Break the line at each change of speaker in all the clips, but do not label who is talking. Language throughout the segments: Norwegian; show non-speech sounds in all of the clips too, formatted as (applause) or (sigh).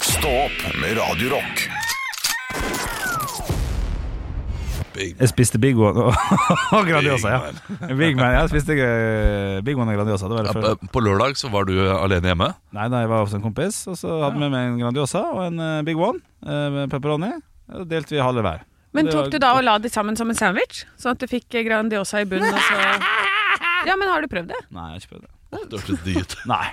Stå opp med Radio Rock.
Big
Jeg spiste Big One og (laughs) og Grandiosa.
Big
Ja. Big Man. Jeg spiste eh, Big One og Grandiosa. Det var det før.
Eh, På lørdag så var du alene hjemme.
Nei, da jeg var hos en kompis, og så hadde vi med en Grandiosa og en eh, Big One eh, med pepperoni. Og delte vi halve hver.
Men
Det var
tok du da og la de sammen som en sandwich? Sånn at du fikk eh, Grandiosa i bunnen,
(laughs)
og så Ja, men har du prøvd det?
Nei, jeg har ikke prøvd det.
Det hørtes digg ut.
Nei.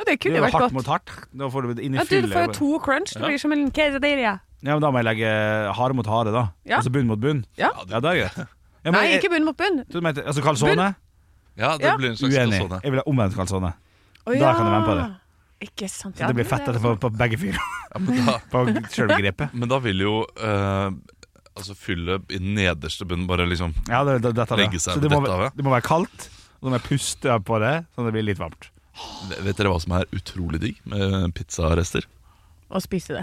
Ja, det
Det
kunne
er
vært
hardt
godt.
mot hardt. Da får du det inn i
Ja, du
fyllet.
får jo to crunch. Det blir som en quesadilla.
Ja, men da må jeg legge hare mot hare, da.
Ja.
Altså bunn mot bunn.
Ja.
Ja, det er greit. Ja, men
Nei,
jeg-
ikke bunn mot bunn.
Du mente, altså calzone?
Ja, det
Ja.
blir en slags sånn-
Uenig.
kalsone.
Jeg vil ha omvendt calzone.
Å,
Da kan du være med på det.
Ikke sant.
Så det blir fett etterpå på begge fyrer.
Ja, men, da,
(laughs) På selve grepet.
men da vil jo eh, altså fylle i den nederste bunnen bare liksom
Ja, det, det, dette er
Legge
det.
seg
Så det
med
må,
dette, ja.
det må være kaldt, og så må jeg puste på det, sånn at det blir litt varmt.
Vet dere hva som er utrolig digg med pizzarester?
Å spise det.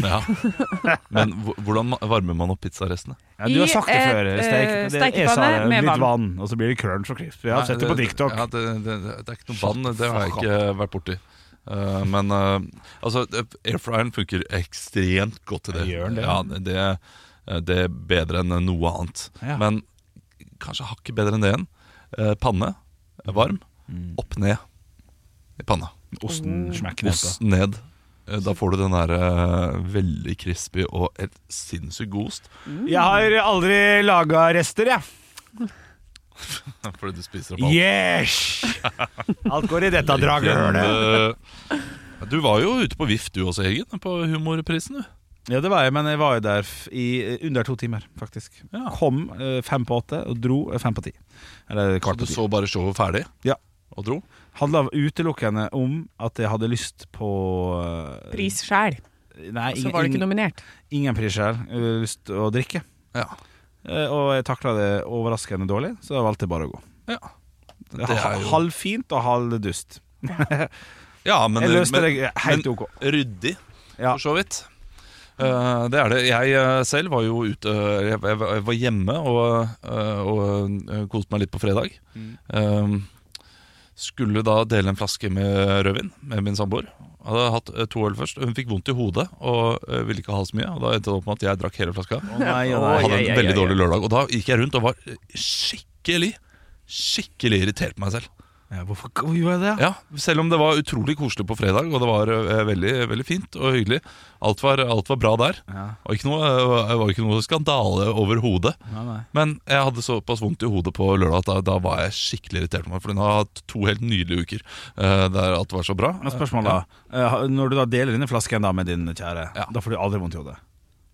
Ja. (laughs) Men hvor- hvordan ma- varmer man opp pizzarestene?
Ja, du har
I
sagt det
et,
før.
eh,
Steik, det, jeg sa
stekepanne
det,
med
litt
vann.
vann, og så blir det crunch og crisp. Jeg har sett det på
Nei,
TikTok.
Ja, det, det, det er ikke noe vann, det har jeg
fuck
ikke vært borti. Eh, men eh, altså, eh, airfryeren funker ekstremt godt til det.
Ja, gjør den det?
Ja, det, eh, det er bedre enn noe annet.
Ja.
Men kanskje hakket bedre enn det igjen. Eh, panne, eh, varm,
Mm.
opp ned i panna.
Osten smekker ned på.
Ost ned. Eh, Da får du den der eh, veldig crispy og et sinnssykt god ost. (laughs)
Jeg har aldri laga rester, jeg.
Fordi du spiser opp alt.
Yes!
(laughs)
Alt går i dette draghølet.
Eh, Du var jo ute på VIF du også, Hegen, på humorprisen. du
Ja, det var jeg, men jeg var jo der f- i eh, under to timer, faktisk. Kom eh, fem på åtte og dro eh, fem på ti. Eller
Så
kvart
du
på ti.
så bare showet ferdig?
Ja.
Og dro?
Handla utelukkende om at jeg hadde lyst på eh,
Pris sjæl.
Nei,
Så
ingen,
var det ikke
ingen,
nominert.
ingen pris sjøl. Jeg hadde lyst til å drikke.
Ja.
Eh, Og jeg takla det overraskende dårlig, så jeg valgte bare å gå.
Ja,
Det
Det er jo-
Halvfint og halv dust.
ja men, eh,
Jeg løste
men-
det helt ok.
men ryddig,
Ja.
for så vidt. Eh, det er det. Jeg eh, selv var jo ute Jeg, jeg, jeg var hjemme og, eh, og eh, koste meg litt på fredag.
Mm.
Eh, skulle da dele en flaske med rødvin med min samboer. Hadde hatt eh, to øl først. Hun fikk vondt i hodet og eh, ville ikke ha så mye. Og Da endte det opp med at jeg drakk hele flaska.
Å nei, å
Og
nei.
hadde en veldig dårlig lørdag. Og da gikk jeg rundt og var skikkelig, skikkelig irritert på meg selv.
Ja, Hvorfor hvorfor gjorde jeg det?
Ja, Selv om det var utrolig koselig på fredag, og det var eh, veldig, veldig fint og hyggelig. Alt var, alt var bra der.
Ja.
Det var ikke noe, eh, var ikke noe skandale overhodet.
Nei, nei.
Men jeg hadde såpass vondt i hodet på lørdag at da, da var jeg skikkelig irritert. på meg For hun har hatt to helt nydelige uker eh, der alt var så bra.
Men spørsmålet da eh, Når du da deler denne flasken da med din kjære
Ja.
Da får du aldri vondt i hodet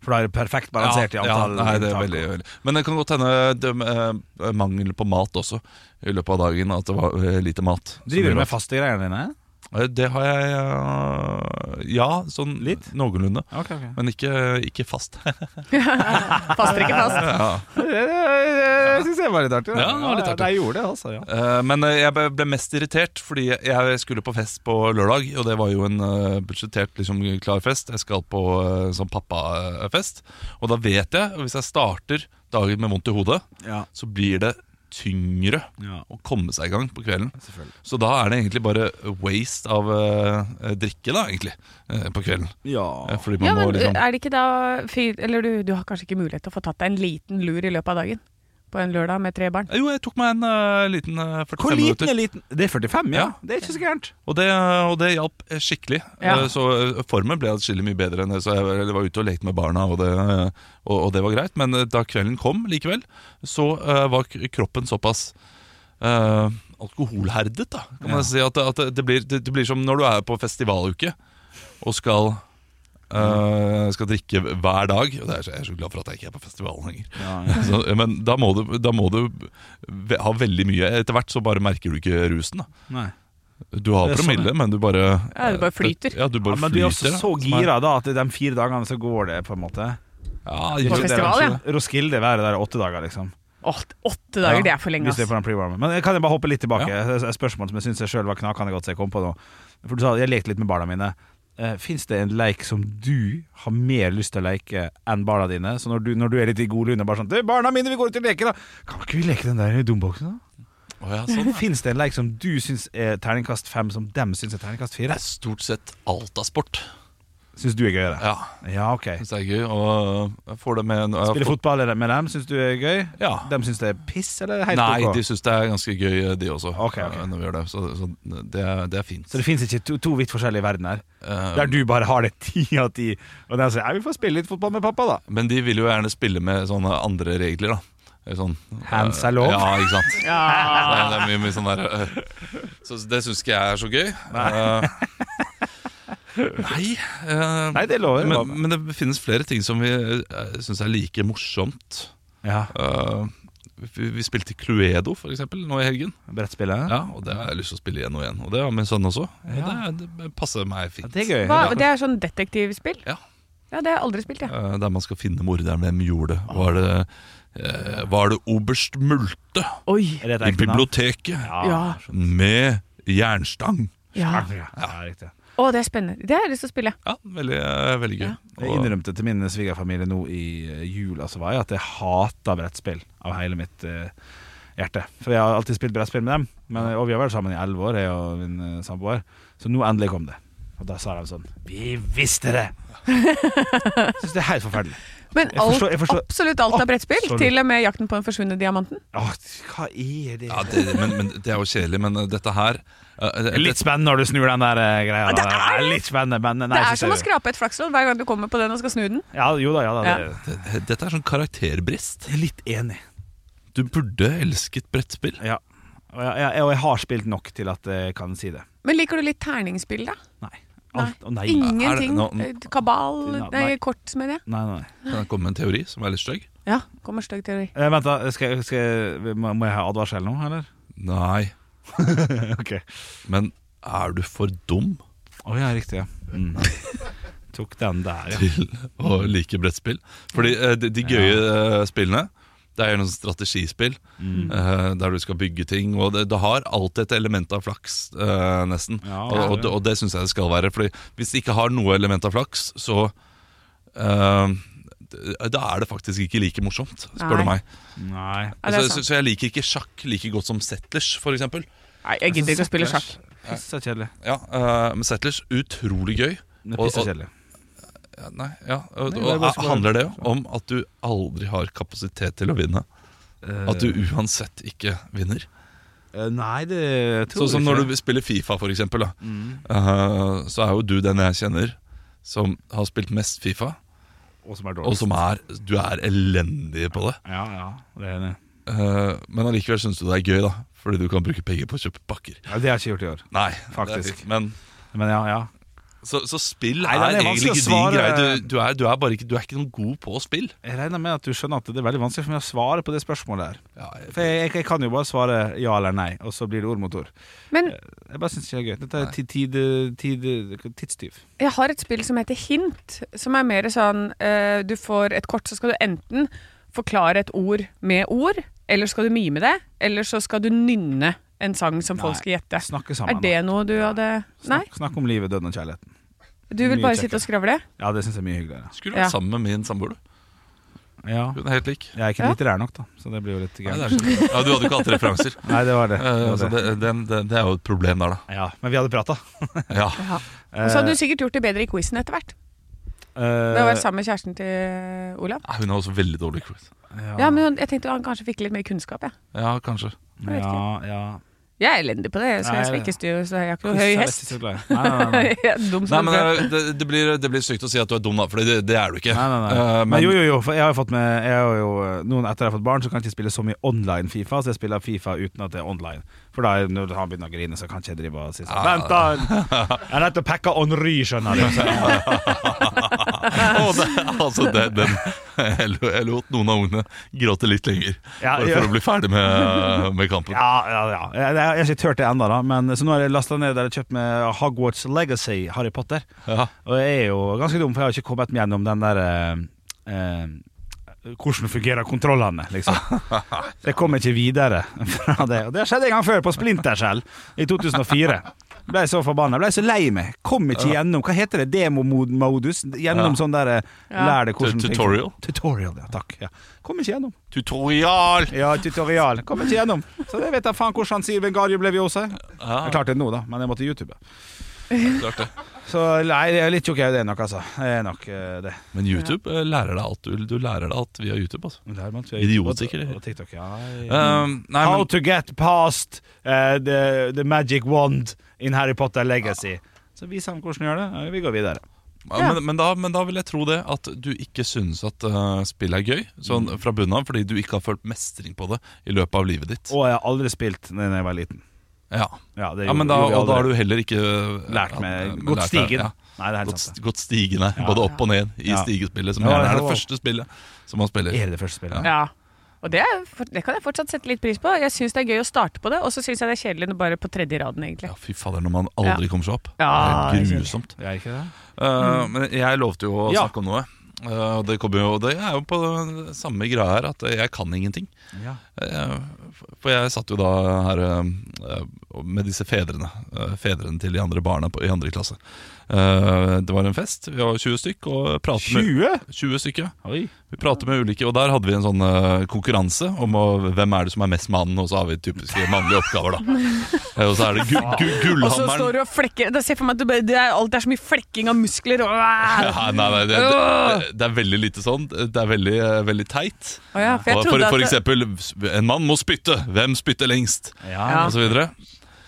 For da er det perfekt balansert i
ja,
antall
nei, det er
inntak.
veldig, veldig. Men det kan godt hende det, eh, mangel på mat også i løpet av dagen. At det var eh, lite mat. som gjorde
Driver du
at-
med faste greiene dine?
Eh, Det har jeg eh, Ja, sånn litt. Noenlunde.
Ok, (laughs) ok
Men ikke, ikke fast. (laughs)
Faster
(laughs)
ikke fast.
ja.
Jeg synes det var litt artig da.
Ja, det var litt artig.
Jeg gjorde det altså, ja
Eh, Men eh, jeg ble- ble mest irritert fordi jeg skulle på fest på lørdag, og det var jo en eh, budsjettert liksom, klar fest. Jeg skal på eh, sånn pappafest, og da vet jeg at hvis jeg starter dagen med vondt i hodet,
Ja,
så blir det tyngre
ja
å komme seg i gang på kvelden.
selvfølgelig
Så da er det egentlig bare waste av eh, drikke, da, egentlig, eh, på kvelden.
Ja
Eh, Fordi man
Ja, men
må liksom
er det ikke da fyr, Eller du, du har kanskje ikke mulighet til å få tatt deg en liten lur i løpet av dagen? På en lørdag med tre barn?
Jo, jeg tok meg en eh, liten eh, 45
Hvor liten
minutter.
er liten? Det er 45, ja,
Ja.
Det er ikke så gærent
Og det, og det hjalp skikkelig.
Ja.
Eh, Så eh, formen ble atskillig mye bedre enn det. Så jeg var- eller var ute og lekte med barna, og det, eh, og, og det var greit. Men eh, da kvelden kom likevel, så eh, var k- kroppen såpass eh, alkoholherdet, da. Kan man
Ja.
si at, at det, blir, det, det blir som når du er på festivaluke og skal eh, skal drikke hver dag. Og det er så, jeg er så glad for at jeg ikke er på festivalen lenger. Så, men da må, du, da må du ve- ha veldig mye. Etter hvert så bare merker du ikke rusen. da
Nei
du har
Det er sånn,
promille, men du bare eh,
Ja, du bare flyter.
Ja, du
ja,
bare
men du er også
flyter. da.
så
Som er-
gira da At de fire dagene så går det på en måte
Ja,
På
jo, det er
festival,
kanskje
ja.
det.
Roskilde være der i åtte dager liksom
Åh, åtte dager,
Ja,
det er for lenge,
Hvis vi er
ass.
på den pre-warmen. Men kan jeg bare hoppe litt tilbake?
Ja.
Det er Et spørsmål som jeg syns jeg sjøl var knakende godt, så jeg kom på nå. For du sa jeg lekte litt med barna mine. Fins det en leik som du har mer lyst til å leke enn barna dine? Så når du, når du er litt i god lune bare sånn «Du, 'Barna mine, vi går ut og leker, da!' Kan ikke vi leke den der dumboksen, da?
Å, ja, sånn.
Fins det en leik som du syns er terningkast fem, som dem syns er terningkast
Det
fire?
er stort sett alt av sport.
Syns du er gøyere?
Ja,
Ja, ok.
synes det er gøy. Og jeg får det med en- jeg
Spille
får-
fotball er det med dem, syns du er gøy?
Ja.
De syns det er piss, eller helt
Nei,
ok?
de syns det er ganske gøy, de også.
Ok, ok.
eh, Når vi gjør det Så, så det, er, det er fint.
Så det fins ikke to, to vidt forskjellige verdener?
Eh,
Der du bare har det ti av ti, og den sier 'jeg vil få spille litt fotball med pappa', da.
Men de vil jo gjerne spille med sånne andre regler, da. Eller Sånn,
Hands
eh,
er lov.
Ja, ikke sant. Det, er, det er mye, mye sånn der eh, Så det syns ikke jeg er så gøy. Eh, nei. eh,
Nei, det lover
men, men det finnes flere ting som vi uh, syns er like morsomt.
Ja,
Eh, vi, vi spilte Cluedo for eksempel, nå i helgen,
Brettspillet?
Ja, og det har jeg lyst til å spille igjen og igjen. Og det har min sønn også. Og det, det passer meg
Ja,
fint.
det er gøy.
Hva, det er sånn detektivspill?
Ja.
Ja, det har jeg aldri spilt, jeg.
Eh, Der man skal finne morderen. Hvem gjorde det? Var det, eh, var det oberst Multe
Oi.
Er
i
det et ekte navn?
biblioteket
Ja.
med jernstang?
ja.
Ja, ja, riktig.
Å, det er spennende. Det har jeg lyst til å spille.
Ja, veldig, eh, veldig gøy.
Ja.
Jeg innrømte til min svigerfamilie nå i eh, jula som var jeg, at jeg hater brettspill av hele mitt eh, hjerte. For jeg har alltid spilt brettspill med dem, men, og vi har vært sammen i elleve år, jeg og min eh, samboer. Så nå endelig kom det. Og da sa de sånn Vi visste det! Syns det er helt forferdelig.
Men
Jeg
alt,
forstår- jeg forstår-
absolutt alt er brettspill.
Absolutt.
Til og med 'Jakten på den forsvunne diamanten'.
Åh, hva er det?
Ja, det, men, men det er jo kjedelig. Men eh, dette her eh, det-
Litt spennende når du snur den der eh, greia.
Det er-
litt spennende, men nei,
det er
synes
som å
jeg-
skrape et flakslodd hver gang du kommer på den og skal snu den.
Ja, jo da, ja da.
Ja.
Det,
dette, dette er sånn karakterbrist.
det er litt enig.
Du burde elsket brettspill.
Ja. Og jeg, jeg, og jeg har spilt nok til at jeg kan si det.
Men liker du litt terningspill, da?
Nei. Alt, å, nei. nei.
Ingenting.
Er det-
Eh, Kabal
Nei.
Nei, kort, mener jeg.
Nei, nei.
Kan jeg komme med en teori som er litt stygg?
Ja, kommer stygg teori.
Eh, vent, da. Skal, skal, må må jeg ha advarsel nå,
(laughs)
eller?
Nei.
ok.
Men er du for dum
Å ja, riktig. ja mm. Tok den der, ja.
til å like brettspill? Fordi eh, de, de gøye eh, spillene det er jo noen strategispill
Mm.
eh, der du skal bygge ting. Og det, det har alltid et element av flaks, eh, nesten.
Ja,
og, og, det- og det syns jeg det skal være. Fordi hvis det ikke har noe element av flaks, så eh, d- Da er det faktisk ikke like morsomt, spør
Nei.
du meg.
Nei.
Ja, det er
så, så,
sant.
så Altså, jeg liker ikke sjakk like godt som Settlers, for eksempel.
Nei, jeg gidder ikke å spille sjakk.
Pissa kjedelig.
Ja, eh, men Settlers, utrolig gøy.
Det er
Og-
Pissa
og-
kjedelig.
Ja, Nei, ja, og,
Nei, det er
og
bare så-
handler det jo om at du aldri har kapasitet til å vinne? At du uansett ikke vinner?
Eh, Nei, det tror
Sånn som
jeg
når
ikke. Mm.
du spiller Fifa, for eksempel. Da. Eh, så er jo du den jeg kjenner som har spilt mest Fifa,
Og som er
og
dårlig.
som er Du er elendig på det.
Ja, ja. Det er enig.
Eh, men allikevel syns du det er gøy, da. Fordi du kan bruke penger på å kjøpe pakker.
Ja, det har jeg ikke gjort i år.
Nei, det er
Faktisk.
fint, Men
Men ja, ja.
så, så spill
Nei,
er,
det er vanskelig
egentlig
å
ikke din greie.
svare.
Du, du, er, du, er bare ikke, du er ikke noen god på spill.
Jeg regner med at du skjønner at det er veldig vanskelig for meg å svare på det spørsmålet her.
Ja, jeg-
For jeg, jeg, jeg kan jo bare svare ja eller nei, og så blir det ord mot ord.
Men
Jeg bare syns ikke det er gøy. Dette er tid, tid, tid, tidstyv.
jeg har et spill som heter Hint, som er mer sånn eh, Du får et kort, så skal du enten forklare et ord med ord, eller skal du mime det, eller så skal du nynne en sang som folk
Nei,
skal gjette.
Snakke
Er
sammen.
det noe du hadde Nei?
Snakk, snakk om livet, døden og kjærligheten.
Du vil
mye
bare
kjekkere.
sitte og skravle?
Ja, det syns jeg er mye hyggeligere.
Skulle vært
Ja.
sammen med min samboer, du.
Ja.
Hun er helt lik.
Jeg er ikke
Ja.
litterær nok, da, så det blir jo litt
Nei,
gærent.
det er ikke- ja, du hadde ikke hatt referanser.
Nei, det var det.
Eh,
det,
så
altså,
var det.
det, den, den, det er jo et problem der, da.
Ja, men vi hadde prata.
Ja.
Og så hadde du sikkert gjort det bedre i quizen etter hvert.
Eh,
Da var jeg sammen med kjæresten til Olav.
Nei, Hun har også veldig dårlig quiz.
Ja, men jeg tenkte han kanskje fikk litt mer kunnskap, jeg.
Ja, kanskje.
jeg vet
ja,
ikke.
ja.
Jeg er elendig på det, så jeg skal
Nei,
ikke styre, så jeg har ikke noe høy hest.
Nei, nei, nei.
(laughs) Jeg er Dum
Nei,
som
men
en brød.
eh, det, det, blir, det blir sykt å si at du er dum, da, for det, det er du ikke.
Nei, nei, nei.
Eh,
men,
(laughs)
jo, jo, jo, for jeg har jo fått med jeg har jo, eh, Noen etter jeg har fått barn, så kan jeg ikke spille så mye online Fifa, så jeg spiller Fifa uten at det er online. For da, når han begynner å grine, så kan ikke jeg drive og si
Ah.
sånn Vent, da! Jeg er nødt til å pakke Henry, skjønner du. Så-
Å, det, altså, det, den, (laughs) jeg, lo, jeg lot noen av ungene gråte litt lenger,
Ja,
bare
ja.
for å bli ferdig
(laughs)
med, med kampen.
Ja, ja, ja. Jeg, jeg har ikke tørt det ennå, da. Men, så nå har jeg lasta ned eller kjøpt med Hogwarts Legacy, Harry Potter.
Ja.
Og jeg er jo ganske dum, for jeg har ikke kommet meg gjennom den der eh, eh, Hvordan fungerer kontrollene, liksom. Så jeg kom ikke videre fra det. Og det har skjedd en gang før, på Splinterskjell i 2004. Ble så forbanna, ble så lei meg. Kom ikke gjennom. Hva heter det? Demomodus? Gjennom sånn der eh, Lær deg hvordan ting-
Tutorial?
Tutorial, ja. Takk. Ja. Kom ikke gjennom.
Tutorial!
Ja, tutorial. Kom ikke gjennom. Så det vet jeg faen hvordan Sylven Garje ble vi også. Jeg klarte det nå, da, men jeg måtte YouTube.
Klart det.
Så nei, jeg er litt tjukk i hodet nok, altså. Jeg er nok eh, det.
Men YouTube eh, lærer deg alt. Du, du lærer deg alt via YouTube. altså Idiot, sikkert.
Og TikTok, ja.
Um, nei,
How
men,
to get past eh, the, the magic wand in Harry Potter legacy. Så viser han hvordan han gjør det. Ja, Vi går videre.
Ja.
men, men, da, men da vil jeg tro det at du ikke synes at eh, spill er gøy sånn
Mm.
fra bunnen av, fordi du ikke har følt mestring på det i løpet av livet ditt.
Og jeg har aldri spilt da jeg var liten.
Ja,
Ja, det
ja men
gjorde-
da,
gjorde jeg
og da har
aldri.
du heller ikke
lært
ja,
meg
men
Gått
lært deg-
stigen.
ja.
Nei, det er helt
Gått,
sant.
gått stigende, både opp og ned, i
Ja.
stigespillet, som
Ja,
gjerne er
ja.
det første spillet som man
det.
spiller.
Er det første spillet?
Ja. Og det, er, for- det kan jeg fortsatt sette litt pris på. Jeg syns det er gøy å starte på det, og så syns jeg det er kjedelig når bare på tredje raden, egentlig.
Ja, fy fader, når man aldri kommer seg opp.
Ja,
det er
det er
grusomt.
Det er ikke det?
Eh, Men jeg lovte jo å
Ja.
snakke om noe. Eh, Og det kommer jo Det er jo på samme greia her, at jeg kan ingenting.
Ja.
Eh, For jeg satt jo da her eh, med disse fedrene. eh, Fedrene til de andre barna på, i andre klasse. Eh, Det var en fest. Vi var 20 stykk og pratet med
20?
20 stykker.
Oi.
Vi pratet med ulike, og der hadde vi en sånn eh, konkurranse om å, hvem er det som er mest mannen, og så har vi typiske mannlige oppgaver, da. Eh, og så er det gu, gu,
Og så
gullhammeren.
står du og flekker Da ser jeg for meg at du bare, det er, alt det er så mye flekking av muskler og Å
(laughs) Ja, nei, nei, det, det, det er veldig lite sånn. Det er veldig, eh, veldig teit.
ja, for jeg
Og For,
trodde
for
at det,
eksempel, en mann må spytte. Hvem spytter lengst?
Ja.
Og så videre.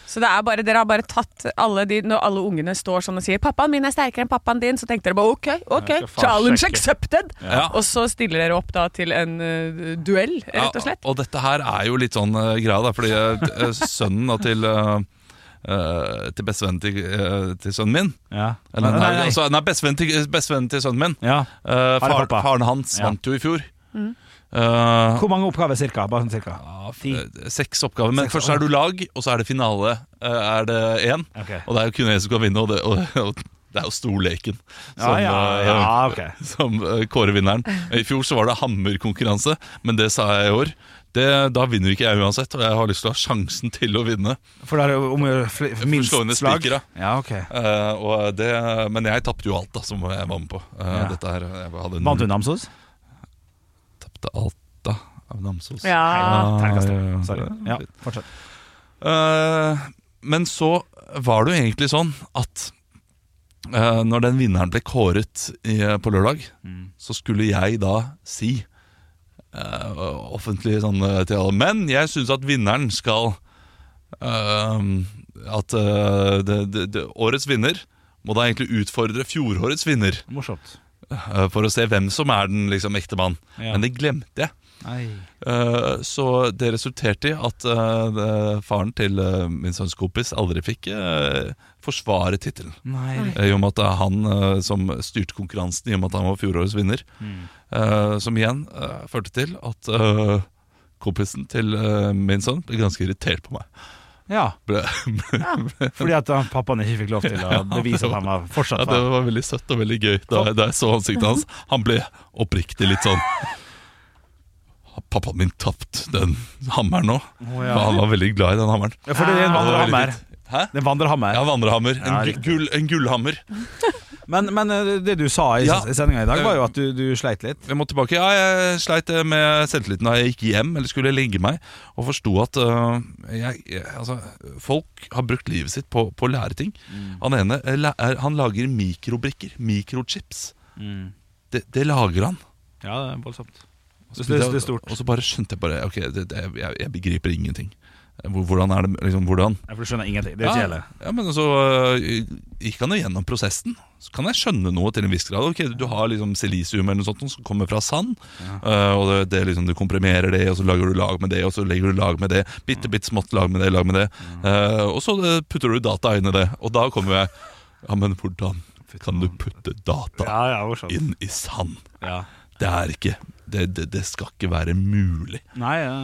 Så det er bare, dere har bare tatt alle de Når alle ungene står sånn og sier 'Pappaen min er sterkere enn pappaen din', så tenkte dere bare 'OK, OK,
Jeg skal faen
challenge
sjekke.»
accepted'.
Ja.
Og så stiller dere opp da til en eh, duell, rett og slett.
Ja, og dette her er jo litt sånn eh, greia, da, fordi eh, sønnen da, til eh, eh, til bestevennen til, eh, til sønnen min.
Ja.
Eller, nei,
nei, nei.
Altså, nei bestevennen til, bestevennen til sønnen min.
ja.
Eh,
Far
far,
og pappa.
faren hans
Ja.
vant jo i fjor.
Mm.
Eh,
Hvor mange oppgaver cirka? Bare sånn cirka.
ja, f-
Ti.
eh, seks oppgaver. Men
Seks,
først er du lag, og så er det finale. Eh, er det én?
Ok.
Og det er jo kun én som kan vinne, og det, og, og, det er jo storleken.
Ja,
som,
ja,
eh,
ja, ok.
som eh, kårer vinneren. I fjor så var det hammerkonkurranse, men det sa jeg i år. Det, da vinner ikke jeg uansett, og jeg har lyst til å ha sjansen til å vinne.
For da er det jo om å gjøre fl- minst
slå inn i
slag.
spiker, da.
Ja, ok.
Eh, og det, men jeg tapte jo alt da som jeg var med på. Eh,
Ja.
Dette her, jeg hadde
Vant du Namsos?
Tapte alt da av Namsos.
Ja.
Ah,
Terningkast
ja, ja.
tre. Sorry. Ja, fortsett.
Eh, men så var det jo egentlig sånn at eh, når den vinneren ble kåret i, eh, på lørdag, så skulle jeg da si eh, offentlig sånn eh, til alle Men jeg syns at vinneren skal eh, At eh, det, det, det, årets vinner må da egentlig utfordre fjorårets vinner
Morsomt.
eh, for å se hvem som er den liksom, ekte mann.
Ja.
Men det glemte jeg.
Nei.
Eh, Så det resulterte i at eh, det- faren til eh, min sønns kompis aldri fikk eh, forsvare tittelen.
Nei.
Eh, I og med at det er han eh, som styrte konkurransen, i og med at han var fjorårets vinner.
Mm.
Eh, Som igjen eh, førte til at eh, kompisen til eh, min sønn ble ganske irritert på meg.
Ja,
Ble, (laughs)
fordi at han- pappaen ikke fikk lov til å bevise at han var
ja,
fortsatt
det
far.
var veldig søtt og veldig gøy da, da jeg så ansiktet hans. Han ble oppriktig litt sånn Har pappaen min tapt den hammeren nå?
Å,
For
ja.
Han var veldig glad i den hammeren.
Ja, for det er
Ja,
en
det var veldig
vandrehammer.
fint. Hæ?
Det er en vandrehammer.
Ja, vandrehammer. En,
Ja,
gu-
riktig.
gull, en gullhammer.
Men, men eh, det du sa i
Ja.
ja. sendinga i dag, var jo at du, du sleit litt.
Jeg må tilbake. Ja, jeg sleit eh, med selvtilliten da jeg gikk hjem, eller skulle legge meg, og forsto at eh, jeg, jeg, altså, folk har brukt livet sitt på, på å lære ting.
Mm.
Han ene eh, læ- er- han lager mikrobrikker, mikrochips. Det, det lager han.
Mm. Ja, det er voldsomt.
Og så
Det- det er
begynte jeg-
stort.
Og så bare skjønte jeg bare Ok, det, det, jeg, jeg begriper ingenting. Hvor- Hvordan er det liksom, Hvordan?
Ja, for du skjønner ingenting. Det er ikke hele.
Ja, men altså, eh, så gikk han jo gjennom prosessen. Så kan jeg skjønne noe til en viss grad. Ok, Du har liksom silisium eller noe sånt som kommer fra sand, eh, og det, det er liksom, du komprimerer det, og så lager du lag med det, og så legger du lag med det. Bitte, bitte smått lag med det, lag med det. Eh, og så eh, putter du data inn i det, og da kommer jeg Ja, men hvordan kan du putte data
Ja, ja, morsomt.
inn i sand?
Ja.
Det er ikke Det, det, det skal ikke være mulig.
Nei, ja.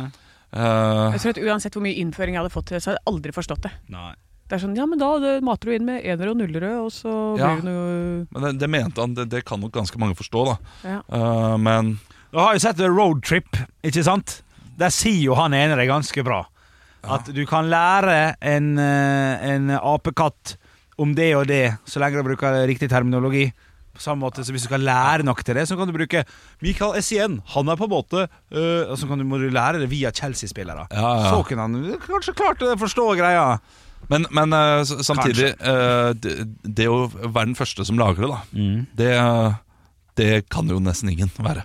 Eh,
Jeg tror at Uansett hvor mye innføring jeg hadde fått til det, så hadde jeg aldri forstått det.
Nei.
Det er sånn, ja, men da det mater du inn med enere og nullere, og så
Ja.
blir det noe
men det, det mente han, det, det kan nok ganske mange forstå, da.
ja.
Eh, men
Du har jo sett The Road Trip, ikke sant? Der sier jo han ene det ganske bra. At du kan lære en, eh, en apekatt om det og det, så lenge du bruker riktig terminologi. På samme måte, så Hvis du skal lære nok til det, så kan du bruke Michael Essien. Han er på en måte øh, Og så eh, kan du, må du lære det via Chelsea-spillere.
Ja, ja.
Så kunne han kanskje klart å forstå greia.
Men, men eh, s- samtidig eh, det, det å være den første som lager det, da,
Mm.
det, eh, det kan jo nesten ingen (laughs) være.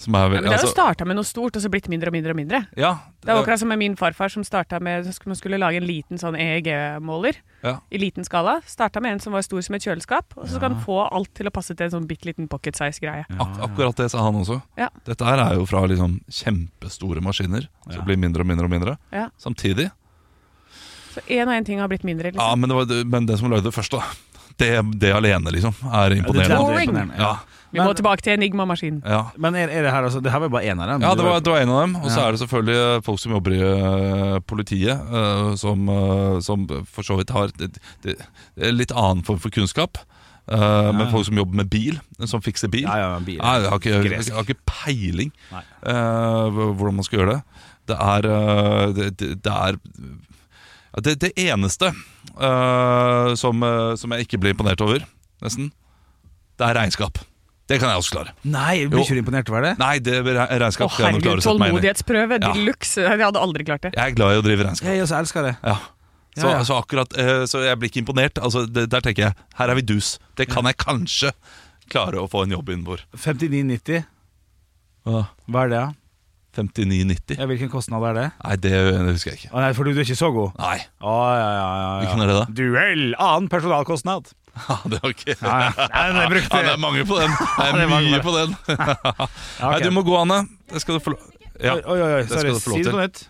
Som er
Ja,
vel-
men det har jo
altså-
starta med noe stort, og så blitt mindre og mindre og mindre.
ja,
Det er akkurat som med min farfar som starta med som skulle- skulle lage en liten sånn EEG-måler
Ja.
i liten skala. Starta med en som var stor som et kjøleskap, og så skal han få alt til å passe til en sånn bitte liten pocket size-greie.
Ak akkurat det sa han også.
Ja.
Dette her er jo fra liksom kjempestore maskiner. Så
Ja.
det blir mindre og mindre og mindre.
Ja.
Samtidig.
Så én og én ting har blitt
Ja,
mindre. Liksom.
men, det var, det- men det som lagde det først, da. (laughs) Det, det alene, liksom, er imponerende.
Boring.
Ja,
Vi må
men-
tilbake til enigma-maskinen.
ja.
Men er, er det her altså Det her var jo bare én av dem.
Ja,
Du
det var, det var en av dem. Og så
Ja.
er det selvfølgelig folk som jobber i eh, politiet, eh, som, eh, som for så vidt har det- det- det er litt annen form for kunnskap. Eh, Men folk som jobber med bil, som fikser bil
Ja, ja, men bil.
Nei, jeg har ikke,
Gresk.
jeg har ikke peiling
Nei.
eh, hv- hvordan man skal gjøre det. Det er eh, det, det, det er ja, det, det eneste eh, som, eh, som jeg ikke blir imponert over, nesten, det er regnskap. Det kan jeg også klare.
Nei, jeg blir
Jo.
ikke du imponert over det?
Nei, det re-
Å
regnskap kan jeg nok
herregud,
klare å sette meg inn i.
tålmodighetsprøve
Ja.
de luxe. Jeg hadde aldri klart det.
Jeg er glad i å drive regnskap.
Jeg også elsker det.
Ja. Så,
Ja, ja.
Så, akkurat, eh, så jeg blir ikke imponert. Altså, det, der tenker jeg her er vi dus. Det kan jeg kanskje klare å få en jobb innenfor.
59,90.
Ja.
Hva er det, da?
59,90.
Ja, hvilken kostnad er det?
Nei, det, det husker jeg ikke.
Å nei, for du, du er ikke så god.
Nei,
Å, ja, ja, ja, ja.
Hvilken er det da?
Duell! Annen personalkostnad.
(laughs) det var ikke
Ja, ja. Nei, men jeg
Ja,
brukte
det er mange på
(laughs)
den. Det
Ja, det
er
er mange
mye
på
på den.
Ja,
Nei,
ok.
du må gå, Anne. Det skal du få lov Ja,
Oi, oi, oi,
skal
sorry.
du få lov
Si det
til.
på nytt.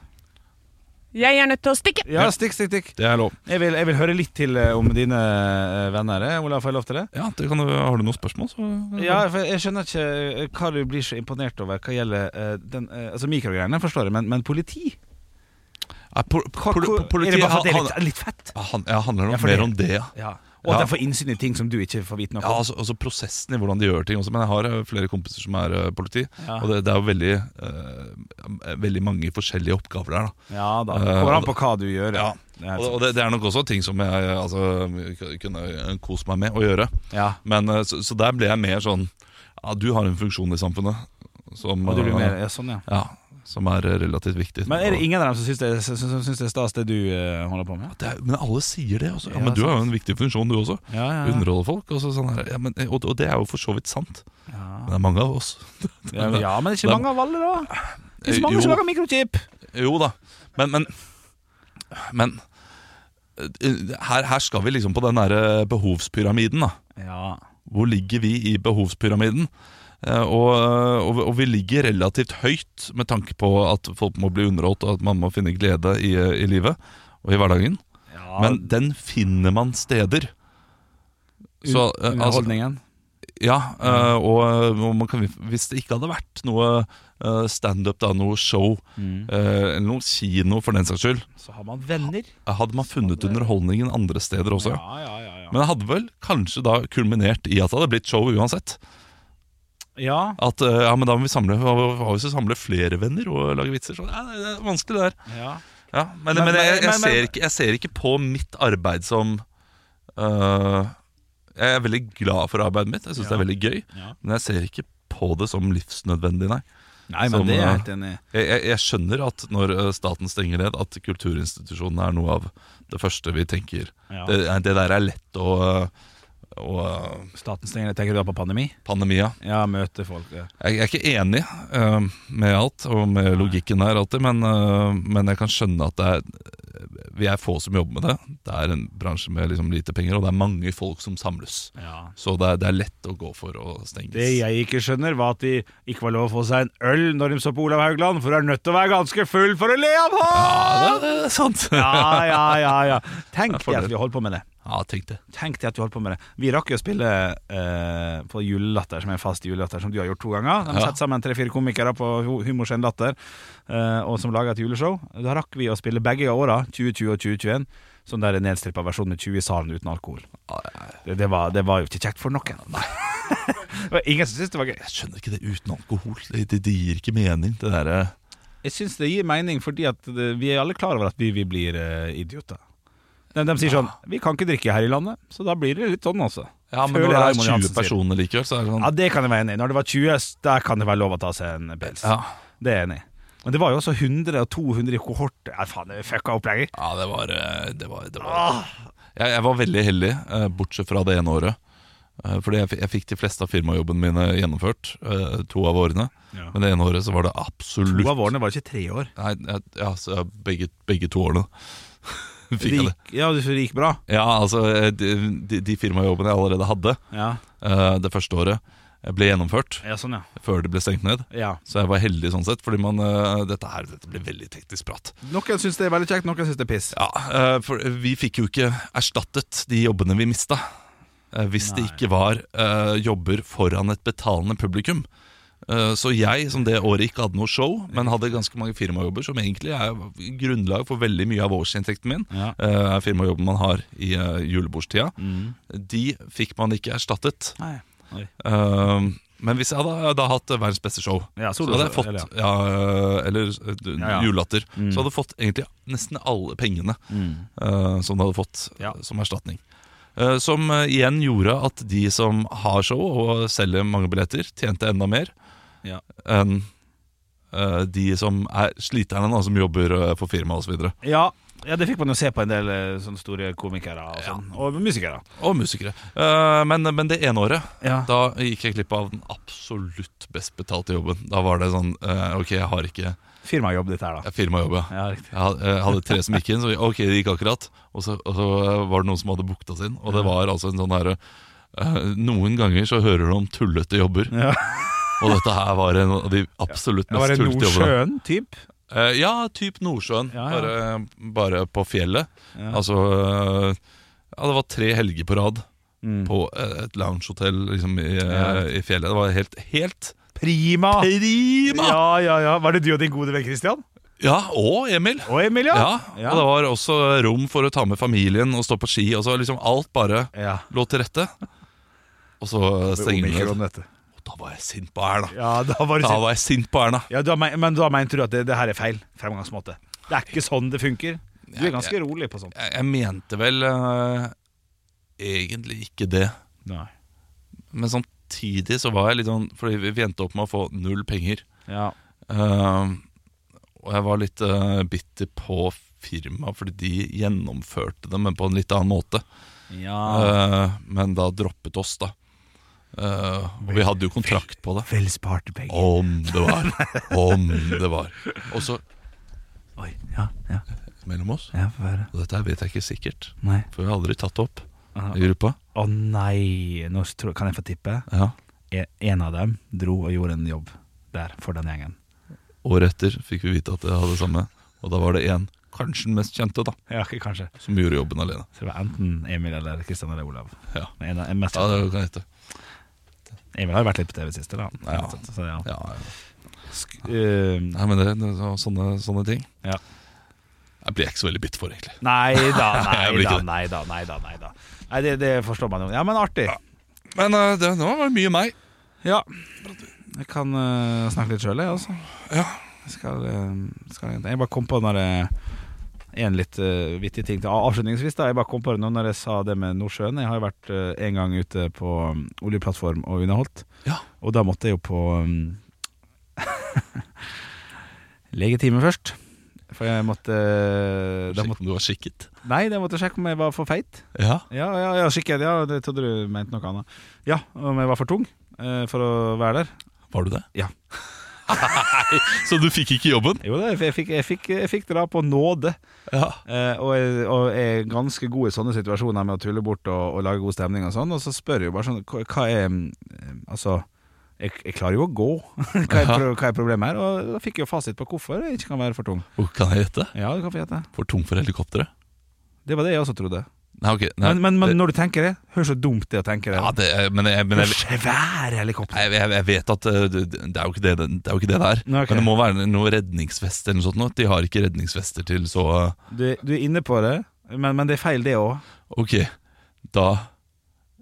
Jeg er nødt til å stikke!
Ja, stikk, stikk, stikk.
det er lov.
Jeg vil, jeg vil høre litt til eh, om dine eh, venner. eh. Olav, får jeg lov til det?
Ja, det kan du, Har du noen spørsmål, så
Ja, for jeg skjønner ikke eh, hva du blir så imponert over hva gjelder eh, den, eh, altså mikrogreiene, forstår jeg, men, men politi?
Nei, po-
Hva-
poli-
hvor- er
Politiet
det bare for at det er
han-
litt, er litt fett?
han- ja, handler
Ja,
nok
for
mer
det-
om det. ja.
Ja. Og at
Ja.
de får innsyn i ting som du ikke får vite noe
Ja,
om.
altså, altså prosessen i hvordan de gjør ting også. Men jeg har eh, flere kompiser som er eh, politi,
Ja.
og det, det er jo veldig, eh, veldig mange forskjellige oppgaver der. Da.
Ja da.
Eh,
Det
og
kommer an på hva du gjør.
Ja.
Det er sånn.
Og, og
sant.
det, det er nok også ting som jeg eh, altså, kunne kose meg med å gjøre.
ja.
Men, eh, så, så der ble jeg mer sånn ja, Du har en funksjon i samfunnet som,
Og du blir
eh,
mer, ja, sånn, ja.
ja, som er eh, relativt viktig.
Men er det
Og-
ingen av dem som syns det, som- som syns det er stas, det du eh, holder på med?
det er, men alle sier det også. Ja,
Ja,
men du har jo
sant.
en viktig funksjon, du også.
Ja, ja, ja.
Underholde folk. Og, så, sånn her. Ja, men, og, og det er jo for så vidt sant. Men
Ja.
det er mange av oss.
Ja, men- ja, men det er ikke
Da-
mange av alle, da. Det er
Eh,
så mange som
jo.
lager mikrochip.
Jo da, men Men, men eh, her, her skal vi liksom på den derre behovspyramiden, da.
Ja.
Hvor ligger vi i behovspyramiden? Eh, Og, og, og vi ligger relativt høyt med tanke på at folk må bli underholdt, og at man må finne glede i, eh, i livet og i hverdagen.
ja
Men den finner man steder. Så, eh, altså,
Underholdningen.
ja, eh, og, og man kan, hvis det ikke hadde vært noe eh, standup, da, noe show,
Mm.
eh, eller noe kino for den saks skyld,
Så har man venner.
hadde man funnet underholdningen andre steder også.
Ja, ja, ja, ja.
Men det hadde vel kanskje da kulminert i at det hadde blitt show uansett.
ja,
At eh, ja, men da må vi samle, hva hva hvis vi samler flere venner og lager vitser? Så, ja, det er vanskelig det der.
ja.
Ja, men,
Men-
men, jeg,
men-
jeg,
men-
ser ikke, jeg ser ikke på mitt arbeid som øh, Jeg er veldig glad for arbeidet mitt, jeg syns det er veldig gøy.
Ja.
Men jeg ser ikke på det som livsnødvendig, nei.
Nei, men
Som,
det er jeg
eh,
helt enig i.
Jeg, jeg, jeg skjønner at når øh, staten stenger ned, at kulturinstitusjonene er noe av det første vi tenker.
Ja.
Det, det der er lett å øh, og øh,
Staten stenger ned. Tenker du da på pandemi?
pandemia.
Ja, møte folk. eh. Ja.
Jeg, jeg er ikke enig øh, med alt og med logikken her alltid, men, øh, men jeg kan skjønne at det er, vi er få som jobber med det. Det er en bransje med liksom lite penger, og det er mange folk som samles.
Ja.
Så det er, det er lett å gå for å stenges.
Det jeg ikke skjønner, var at de ikke var lov å få seg en øl når de så på Olav Haugland, for du er nødt til å være ganske full for å le av ham!
Ja, det er sant.
Ja,
Ja,
ja, ja, ja. Tenk
for
deg at
det.
vi holdt på med det.
tenk det.
Tenk deg at vi holdt på med det. Vi rakk jo å spille eh, på Julelatter, som er en fast julelatter, som du har gjort to ganger. De
Ja.
setter sammen tre-fire komikere på hu- Humorsen Latter, eh, og som lager et juleshow. Da rakk vi å spille begge åra, 2020 og 2021, sånn der nedstrippa versjon med 20 i salen uten alkohol. Det, det, var, det var jo ikke kjekt for noen. (laughs) det var ingen som syntes det var gøy.
Jeg skjønner ikke det uten alkohol. Det, det, det gir ikke mening, det derre
Jeg syns det gir mening, fordi at det, vi er alle klar over at vi, vi blir eh, idioter. De, de sier sånn Vi kan ikke drikke her i landet, så da blir det litt sånn også.
Ja, men
Føler
når det
jeg
er
Raymond
20
Johansen sier.
personer likevel, så er det sånn
Ja, det kan jeg være enig i. Når det var 20, s- der kan det være lov å ta seg en pils.
Ja,
Det er jeg enig i. Men det var jo også 100 og 200 i kohort. Ja, faen, det fucka opplegget.
Ja, det var, eh, det var, det
Ah!
var. Jeg, jeg var veldig heldig, eh, bortsett fra det ene året. Eh, Fordi jeg, fi- jeg fikk de fleste av firmajobbene mine gjennomført, eh, to av årene.
Ja.
Men det ene året så var det absolutt
To av årene var det ikke tre år.
Nei, jeg- ja, så jeg- begge, begge to årene (laughs)
Det
fikk jeg det.
gikk, ja, det gikk bra.
Ja, altså, eh, de, de- de firmajobbene jeg allerede hadde
Ja,
eh, det første året, eh, ble gjennomført
ja sånn, ja.
før det ble stengt ned.
ja.
Så jeg var heldig sånn sett, fordi man, eh, dette, her, dette blir veldig teknisk prat.
Noen syns det er veldig kjekt, noen syns det er piss.
Ja, eh, for vi fikk jo ikke erstattet de jobbene vi mista. eh, Hvis det
Nei.
ikke var eh, jobber foran et betalende publikum. Eh, Så jeg, som det året ikke hadde noe show, men hadde ganske mange firmajobber, som egentlig er grunnlag for veldig mye av årsinntekten min,
Ja.
eh, er firmajobben man har i eh, julebordstida,
Mm.
de fikk man ikke erstattet.
Nei. Oi.
Eh, Men hvis jeg hadde, hadde hatt verdens beste show,
Ja,
så
solo-
hadde jeg fått
eller ja.
ja, Eller eh, du-
Ja, Mm. ja.
julelatter. Så hadde jeg fått egentlig nesten alle pengene eh, som du hadde fått
Mm. Ja.
som erstatning. Eh, som eh, igjen gjorde at de som har show og selger mange billetter, tjente enda mer
Ja.
enn eh, de som er sliterne, da, som jobber eh, for firmaet osv. Og,
Ja, ja, det fikk man jo se på en del eh, sånne store komikere og, sånn, og musikere.
så og musikere. Eh, men, men det ene året,
Ja.
da gikk jeg glipp av den absolutt best betalte jobben. Da var det sånn eh, Ok, jeg har ikke
Firmajobb, dette her, da.
jeg firmajobb, ja.
Ja, riktig.
Jeg had- jeg hadde tre som gikk inn, så vi- ok, det gikk akkurat. Og så, og så var det noen som hadde booka sin. Og det var altså en sånn herre Noen ganger så hører du om tullete jobber.
Ja.
Og dette her var en av de absolutt
Det var
mest
en
tullete jobbene.
Nordsjøen-type.
Eh, ja, typ Nordsjøen,
Ja, ja.
Bare, bare på fjellet.
Ja.
Altså eh, Ja, det var tre helger på rad
Mm.
på eh, et loungehotell liksom, i,
Ja.
eh, i fjellet. Det var helt, helt
Prima!
prima! Ja,
Ja, ja, ja. Var det du og din gode venn Christian?
og Emil.
Og Emil,
Ja,
ja?
og det var også rom for å ta med familien og stå på ski. Og så liksom alt bare
Ja.
lå til rette. Og så stenger vi ned.
Omikron, dette.
Og Da var jeg sint på Erna.
Ja, da var det
Da
sitt.
var jeg sint på Erna.
Ja, da, men men da mente du at det, det her er feil fremgangsmåte. Det er ikke sånn det funker. Du er ganske rolig på sånt.
Jeg, jeg mente vel eh, egentlig ikke det.
Nei.
Men samtidig så var jeg litt sånn Fordi vi- vi endte opp med å få null penger.
Ja.
Eh, og jeg var litt eh, bitter på firmaet, fordi de gjennomførte det, men på en litt annen måte.
ja.
Eh, men da droppet oss, da. Eh, og vi hadde jo kontrakt på det.
Vel sparte penger.
Om det var. Om det var. Og så
Oi, ja, ja,
mellom oss
ja, få høre.
Og dette her vet jeg ikke sikkert,
Nei.
for vi har aldri tatt det opp
Aha.
i gruppa.
Å nei, Nå tror, kan jeg få tippe?
Ja.
E- En av dem dro og gjorde en jobb der for den gjengen.
Året etter fikk vi vite at det hadde det samme, og da var det én, kanskje den mest kjente, da
Ja, ikke kanskje.
som gjorde jobben alene.
Så det var enten Emil eller Kristian eller Olav.
Ja,
Men En av, en mest,
ja det kan jeg hete.
Emil har jo vært litt på TV siste, da.
Ja.
Så, ja.
Ja, ja.
Sk eh,
Nei, men det, det, så- sånne, sånne ting
Ja.
Jeg blir jeg ikke så veldig bitt for, egentlig.
nei da,
(laughs) Jeg
nei
blir
da,
ikke det.
nei da. Nei, da, nei, da. nei det, det forstår man jo. Ja, men artig.
Men eh, det, nå var det mye meg.
Ja. Jeg kan eh, snakke litt sjøl, jeg, altså.
Ja.
Jeg, skal, eh, skal, jeg bare kom på når jeg en litt eh, vittig ting til avslutningsvis. da Jeg bare kom på det nå når jeg sa det med Nordsjøen. Jeg har jo vært eh, en gang ute på um, oljeplattform og underholdt.
Ja.
Og da måtte jeg jo på um, (laughs) legetime først. For jeg måtte, eh, da
Sjekk
måtte
om du var skikket.
Nei, jeg måtte sjekke om jeg var for feit.
Ja.
Ja, ja, ja skikkelig. Ja, det trodde du mente noe annet. Ja, om jeg var for tung eh, for å være der.
Var du det?
Ja.
(laughs) Nei, så du fikk ikke jobben?
Jo da, jeg fikk, jeg fikk, jeg fikk det da på nåde.
Ja.
Eh, og, jeg, og jeg er ganske god i sånne situasjoner med å tulle bort og, og lage god stemning og sånn. Og så spør jeg jo bare sånn Hva hva er mm, Altså, jeg, jeg klarer jo å gå. (laughs) hva, er, pro- hva er problemet her? Og da fikk jeg jo fasit på hvorfor jeg ikke kan være for tung.
Hvor kan jeg gjette?
Ja, du kan få gjette.
For tung for helikopteret?
Det var det jeg også trodde.
Nei, ok. Nei,
men, men, men
det-
når du tenker det, hør så dumt det å tenke det.
ja, det, men jeg, men jeg,
Svære helikopter.
jeg, jeg, jeg vet at eh, det, det er jo ikke det det, det, er jo ikke det det er.
Nei, ok.
Men det må være noe redningsvest eller noe sånt. nå. De har ikke redningsvester til, så eh,
Du, du er inne på det, men, men det er feil, det òg.
ok, da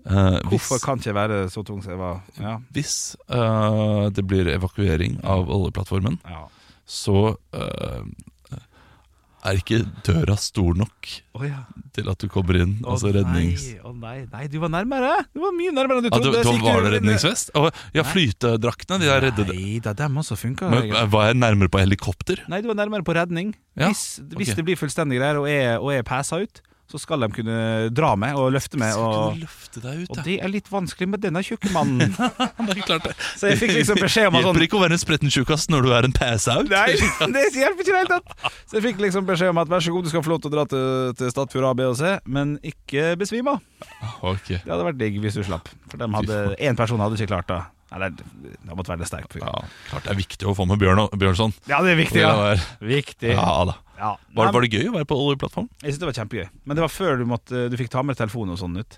eh, hvis,
Hvorfor kan ikke jeg være så tung som jeg var? Ja.
hvis eh, det blir evakuering av oljeplattformen,
ja.
så eh, er ikke døra stor nok
Å ja.
til at du kommer inn?
Å
altså rednings...
Nei, å nei, nei, du var nærmere! Du var mye nærmere enn du
Ja, du,
trodde.
da
Sikkert
var det
du-
redningsvest? Å, ja, flytedraktene, de der redde
Nei da, dem også funka.
Men var jeg nærmere på helikopter?
Nei, du var nærmere på redning.
Ja,
hvis, hvis
ok.
det blir fullstendig greier og er, og er pæsa ut, så skal de kunne dra med og løfte med.
Skal
Og,
du løfte deg ut,
og
ja?
det er litt vanskelig med denne tjukke
(laughs)
mannen.
Det er klart det.
Så jeg fikk liksom beskjed om at
Hjelper
sånn
ikke å være en spretten tjukkas når du er en pass-out. (laughs)
Nei, det hjelper ikke i det hele tatt! Så jeg fikk liksom beskjed om at vær så god, du skal få lov til å dra til, til Stadfjord A, B og C, men ikke besvime av.
Ok.
Det hadde vært digg hvis du slapp. For dem hadde, én person hadde ikke klart det. Nei, det er- det måtte være det sterkt.
Ja, klart det er viktig å få med Bjørn og Bjørnson.
Ja, det er viktig,
Det
ja.
der.
Viktig.
Ja da.
Ja.
Var, var det gøy å være på oljeplattform?
Jeg synes det var kjempegøy Men det var før du, måtte, du fikk ta med telefonen og sånn ut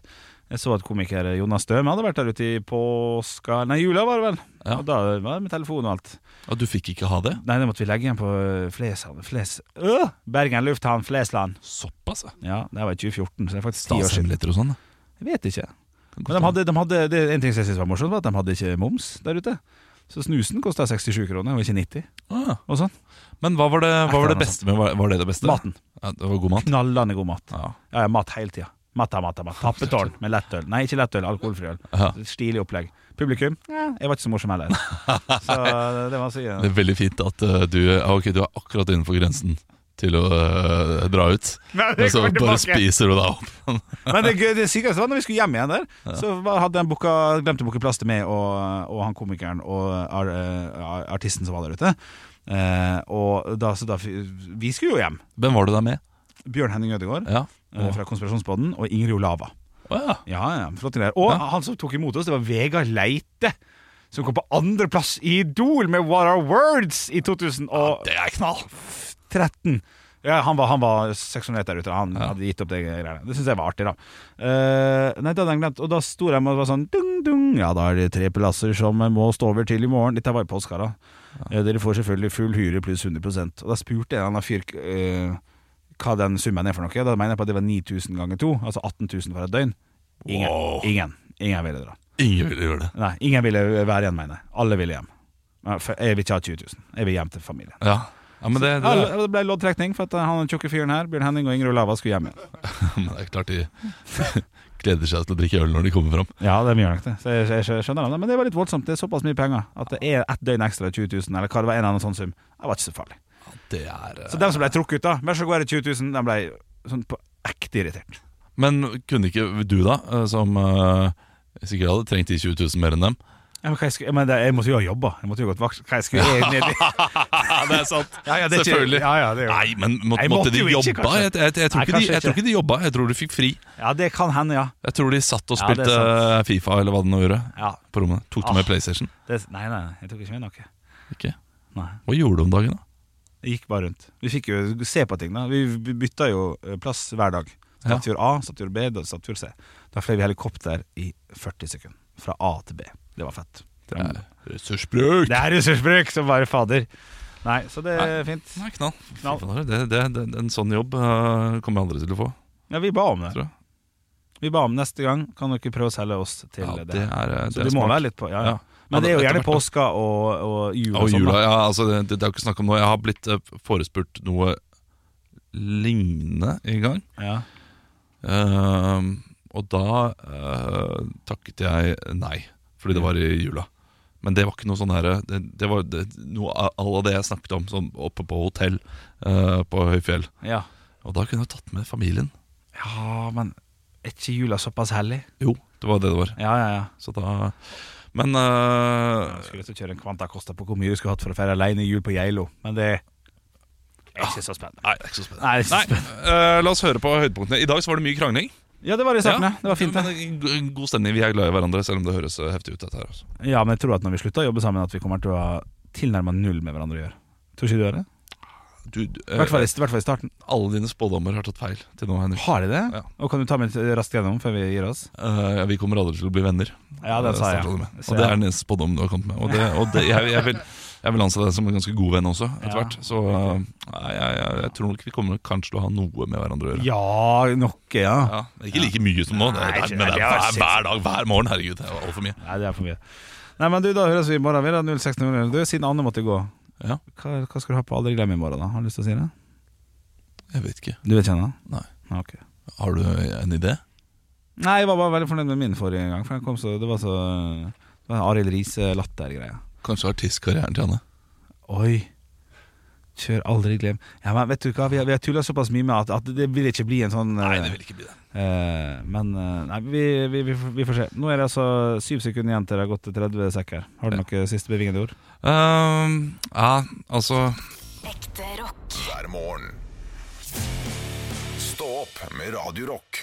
Jeg så at komiker Jonas Støme hadde vært der ute i påska Nei, jula var det vel
Ja.
Og da var det med telefon og alt
Ja, du fikk ikke ha det?
Nei, det måtte vi legge igjen på Flesland Fles, øh! Bergen Lufthavn, Flesland
Såpass, ja.
Ja, det var i 2014, så det er faktisk 10 år siden
Statshemmeligheter og sånn. da.
Jeg vet ikke
Kan godt
Men de
hende.
hadde, de hadde, det, en ting som jeg synes var morsomt var at de hadde ikke moms der ute Så snusen kostet 67 kroner, og ikke 90
Ah,
og sånn
Men hva var det, hva var det
Etter noe
beste med Var var det det beste?
Maten,
Ja, det var god mat.
knallende god mat
Ja.
Ja, ja, mat hele tida Matta, matta, matta Tappetårn med lettøl Nei, ikke lettøl, alkoholfri øl
Ja.
Stilig opplegg. Publikum? Ja, jeg var ikke så morsom
(laughs)
heller. Så eh, det var så
Det er veldig fint at eh, du, ja, ok, du er akkurat innenfor grensen til å eh, dra ut. Men så bare spiser du deg opp.
Men det, gøy- det sykeste var når vi skulle hjem igjen der, så var- hadde de booka, glemt å booke plass til meg og, og han komikeren og ar, eh, artisten som var der ute. Eh, og da, så da f- Vi skulle jo hjem.
Hvem var du der med?
Bjørn Henning Ødegaard
Ja.
eh, fra Konspirasjonspodden og Ingrid Olava.
Å, ja.
Ja, ja, flott greier. Og han som tok imot oss, det var Vegard Leite. Som kom på andreplass i Idol med What Are Words i 2000 og
Det er knall!
13. Ja, han var, han var 600 meter ute. Han
Ja.
hadde gitt opp det greiene. Det syns jeg var artig, da. Eh, nei, det hadde jeg glemt. Og da sto de og var sånn dung, dung. Ja, da er det tre plasser som må stå over til i morgen. Dette var i påska, da. Eh, dere får selvfølgelig full hyre pluss 100 Og da spurte en annen fyr eh, hva den summen er for noe. Da mener jeg på at det var 9000 ganger to, altså 18 000 for et døgn. Ingen,
Wow.
ingen, ingen ville dra.
Ingen ville gjøre det.
Nei, ingen ville være igjen, mener jeg. Alle ville hjem. Nei, for Jeg vil ikke ha 20 000. Jeg vil hjem til familien.
Ja, ja men det, det,
Ja, det ble loddtrekning for at eh, han den tjukke fyren her, Bjørn Henning og Ingrid Olava, skulle hjem igjen.
(laughs) Men det er klart de (laughs) gleder seg til å drikke øl når de kommer fram.
Ja, de gjør nok det. Så jeg, jeg, jeg skjønner det. Men det var litt voldsomt. Det er såpass mye penger at det er ett døgn ekstra i 20 000, eller hva det var, en eller annen sånn sum. Det var ikke så farlig.
Det er eh,
Så dem som ble trukket ut, da, vær så god, er det 20 000? De ble sånn på ekte irritert.
Men kunne ikke du, da, eh, som eh, sikkert hadde trengt de 20 000 mer enn dem
Ja, men, hva jeg, skulle, men det, jeg måtte jo ha jobba. Jeg måtte jo gått vakt. Hva jeg skulle jeg ned (laughs) i
(laughs) Det er sant!
ja, ja, det er ikke-
Selvfølgelig.
Ja, ja, det, er jo-
Nei, men må,
Nei, måtte
måtte de
jo ikke,
jobba?
kanskje.
Jeg, jeg, jeg, tror
Nei,
ikke de,
kanskje
jeg tror
ikke.
ikke de jobba, jeg tror de fikk fri.
ja, det kan hende, ja.
Jeg tror de satt og
Ja, det er
spilte eh, Fifa eller hva det nå gjorde
ja
på rommet. Tok
Ah.
de med PlayStation?
det, nei, nei, nei, jeg tok ikke med noe.
Ikke?
Nei.
Hva gjorde du om dagen, da?
Det gikk bare rundt. Vi fikk jo se på ting, da. Vi by- bytta jo eh, plass hver dag. Statur A, statur B, da statur C. Da fløy vi helikopter i 40 sekunder. Fra A til B. Det var fett. Det
Det
er-
er Ressursbruk!
Det er ressursbruk som bare fader. Nei, så det er fint.
Nei, knall.
Knall.
Fy faen, Det, det, det, en sånn jobb eh, kommer jeg aldri til å få.
Ja, vi ba om
Tror
det.
jeg.
Vi ba om neste gang. Kan dere prøve å selge oss til
Ja,
det? her?
er, eh,
Så
er
du må
smart.
være litt på ja, ja.
Ja.
Men det er jo
Ja,
gjerne
etter hvert, da.
påska og, og jul og,
Og
sånn.
jula,
da.
ja, altså det, det, det er jo ikke snakk om noe Jeg har blitt eh, forespurt noe lignende en gang
Ja.
Ehm, Og da eh, takket jeg nei Fordi
Mm.
det var i jula Men det var ikke noe sånn her Det, det var det, noe av all av det jeg snakket om sånn Oppe på hotell eh, på Høyfjell
Ja.
Og da kunne jeg tatt med familien
ja, men er ikke jula såpass hellig?
Jo, det var det det var
Ja, ja, ja.
Så da Men eh,
Jeg skulle til å kjøre en Kvanta Costa på hvor mye du skulle hatt for å feire alene jul på Geilo, men det er ikke så spennende.
Nei, det er ikke så spennende
Nei, det er
Nei,
ikke så spennende.
eh, la oss høre på høydepunktene I dag så var det mye krangling
Ja, det var det i starten, ja. Det var fint, det.
Men det er god stemning. Vi er glad i hverandre, selv om det høres eh, heftig ut. dette her altså.
Ja, men jeg tror at når vi slutter å jobbe sammen, at vi kommer til å ha tilnærma null med hverandre å gjøre. Tror ikke du gjør det?
Du, du, eh,
I hvert fall i i hvert fall i starten.
alle dine spådommer har tatt feil til nå, Henrik.
Har de det?
Ja.
Og kan du ta meg litt raskt gjennom før vi gir oss?
Eh, vi kommer aldri til å bli venner.
Ja, den
eh,
sa jeg.
startet du med.
Så
Og det
jeg-
er den eneste spådommen du har kommet med. Og, det, og det, jeg, jeg, vil, jeg vil anse deg som en ganske god venn også, etter
Ja.
hvert. Så eh, nei, jeg, jeg, jeg tror nok vi kommer kanskje til å ha noe med hverandre å gjøre.
Ja, noe, ja.
Ja, ikke like mye som nå, det,
Nei,
det,
ikke-
men det
det
er
var
hver,
sinnssykt.
hver dag, hver morgen. Herregud, det er altfor mye.
Nei, det er for mye. Nei, men du, da høres vi i morgen. Vi er 0600. Du, siden Anne måtte gå,
Ja.
hva, hva skal du ha på Aldri glem i morgen, da? Har du lyst til å si det?
Jeg vet ikke.
Du vet ikke ennå?
Nei.
Ok.
Har du en idé?
Nei, jeg var bare veldig fornøyd med min forrige gang. For den kom så, Det var så Det var en Arild Riise-latter-greie.
Kanskje artistkarrieren til henne.
Oi. Kjør aldri glem. Ja, men vet du hva, Vi har, vi har tulla såpass mye med at, at det vil ikke bli en sånn eh,
vil ikke bli det.
eh, Men eh, nei, vi, vi, vi, får- vi får se. Nå er det altså syv sekunder igjen til det har gått til 30 sekker. Har du noen siste bevingede ord?
Ehm, ja, altså
Ekte rock.
hver morgen. Stå opp med Radio Rock.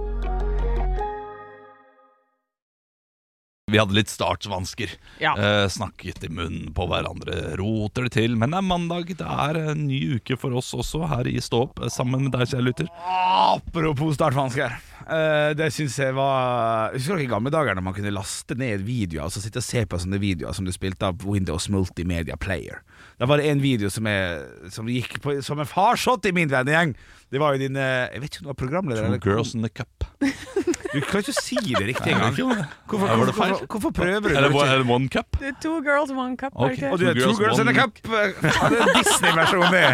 Vi hadde litt startvansker.
Ja.
Eh, snakket i munnen på hverandre, roter det til. Men det er mandag, det er en ny uke for oss også her i Stå opp, eh, sammen med deg, kjære lytter.
Apropos startvansker. Eh, det syns jeg var Husker dere i gamle dager når man kunne laste ned videoer og så sitte og se på sånne videoer som du spilte av Windows Multimedia Player? Da var det en video som, jeg, som gikk på, som en farsott i min vennegjeng. Det var jo din eh, Jeg vet ikke om du var programleder
Two
eller
girls in the cup.
Du kan ikke si det riktig
Nei,
engang.
(laughs) det er ikke det. Ja, var
Hvorfor,
det
hvorfor,
feil?
hvorfor, hvorfor prøver du?
Eller
når du ikke-
one- one cup?
Det er Two girls, one cup.
Ok.
Okay.
Og du er Two Girls in a Cup. Faen, det er Disney-versjonen,
(laughs)
det.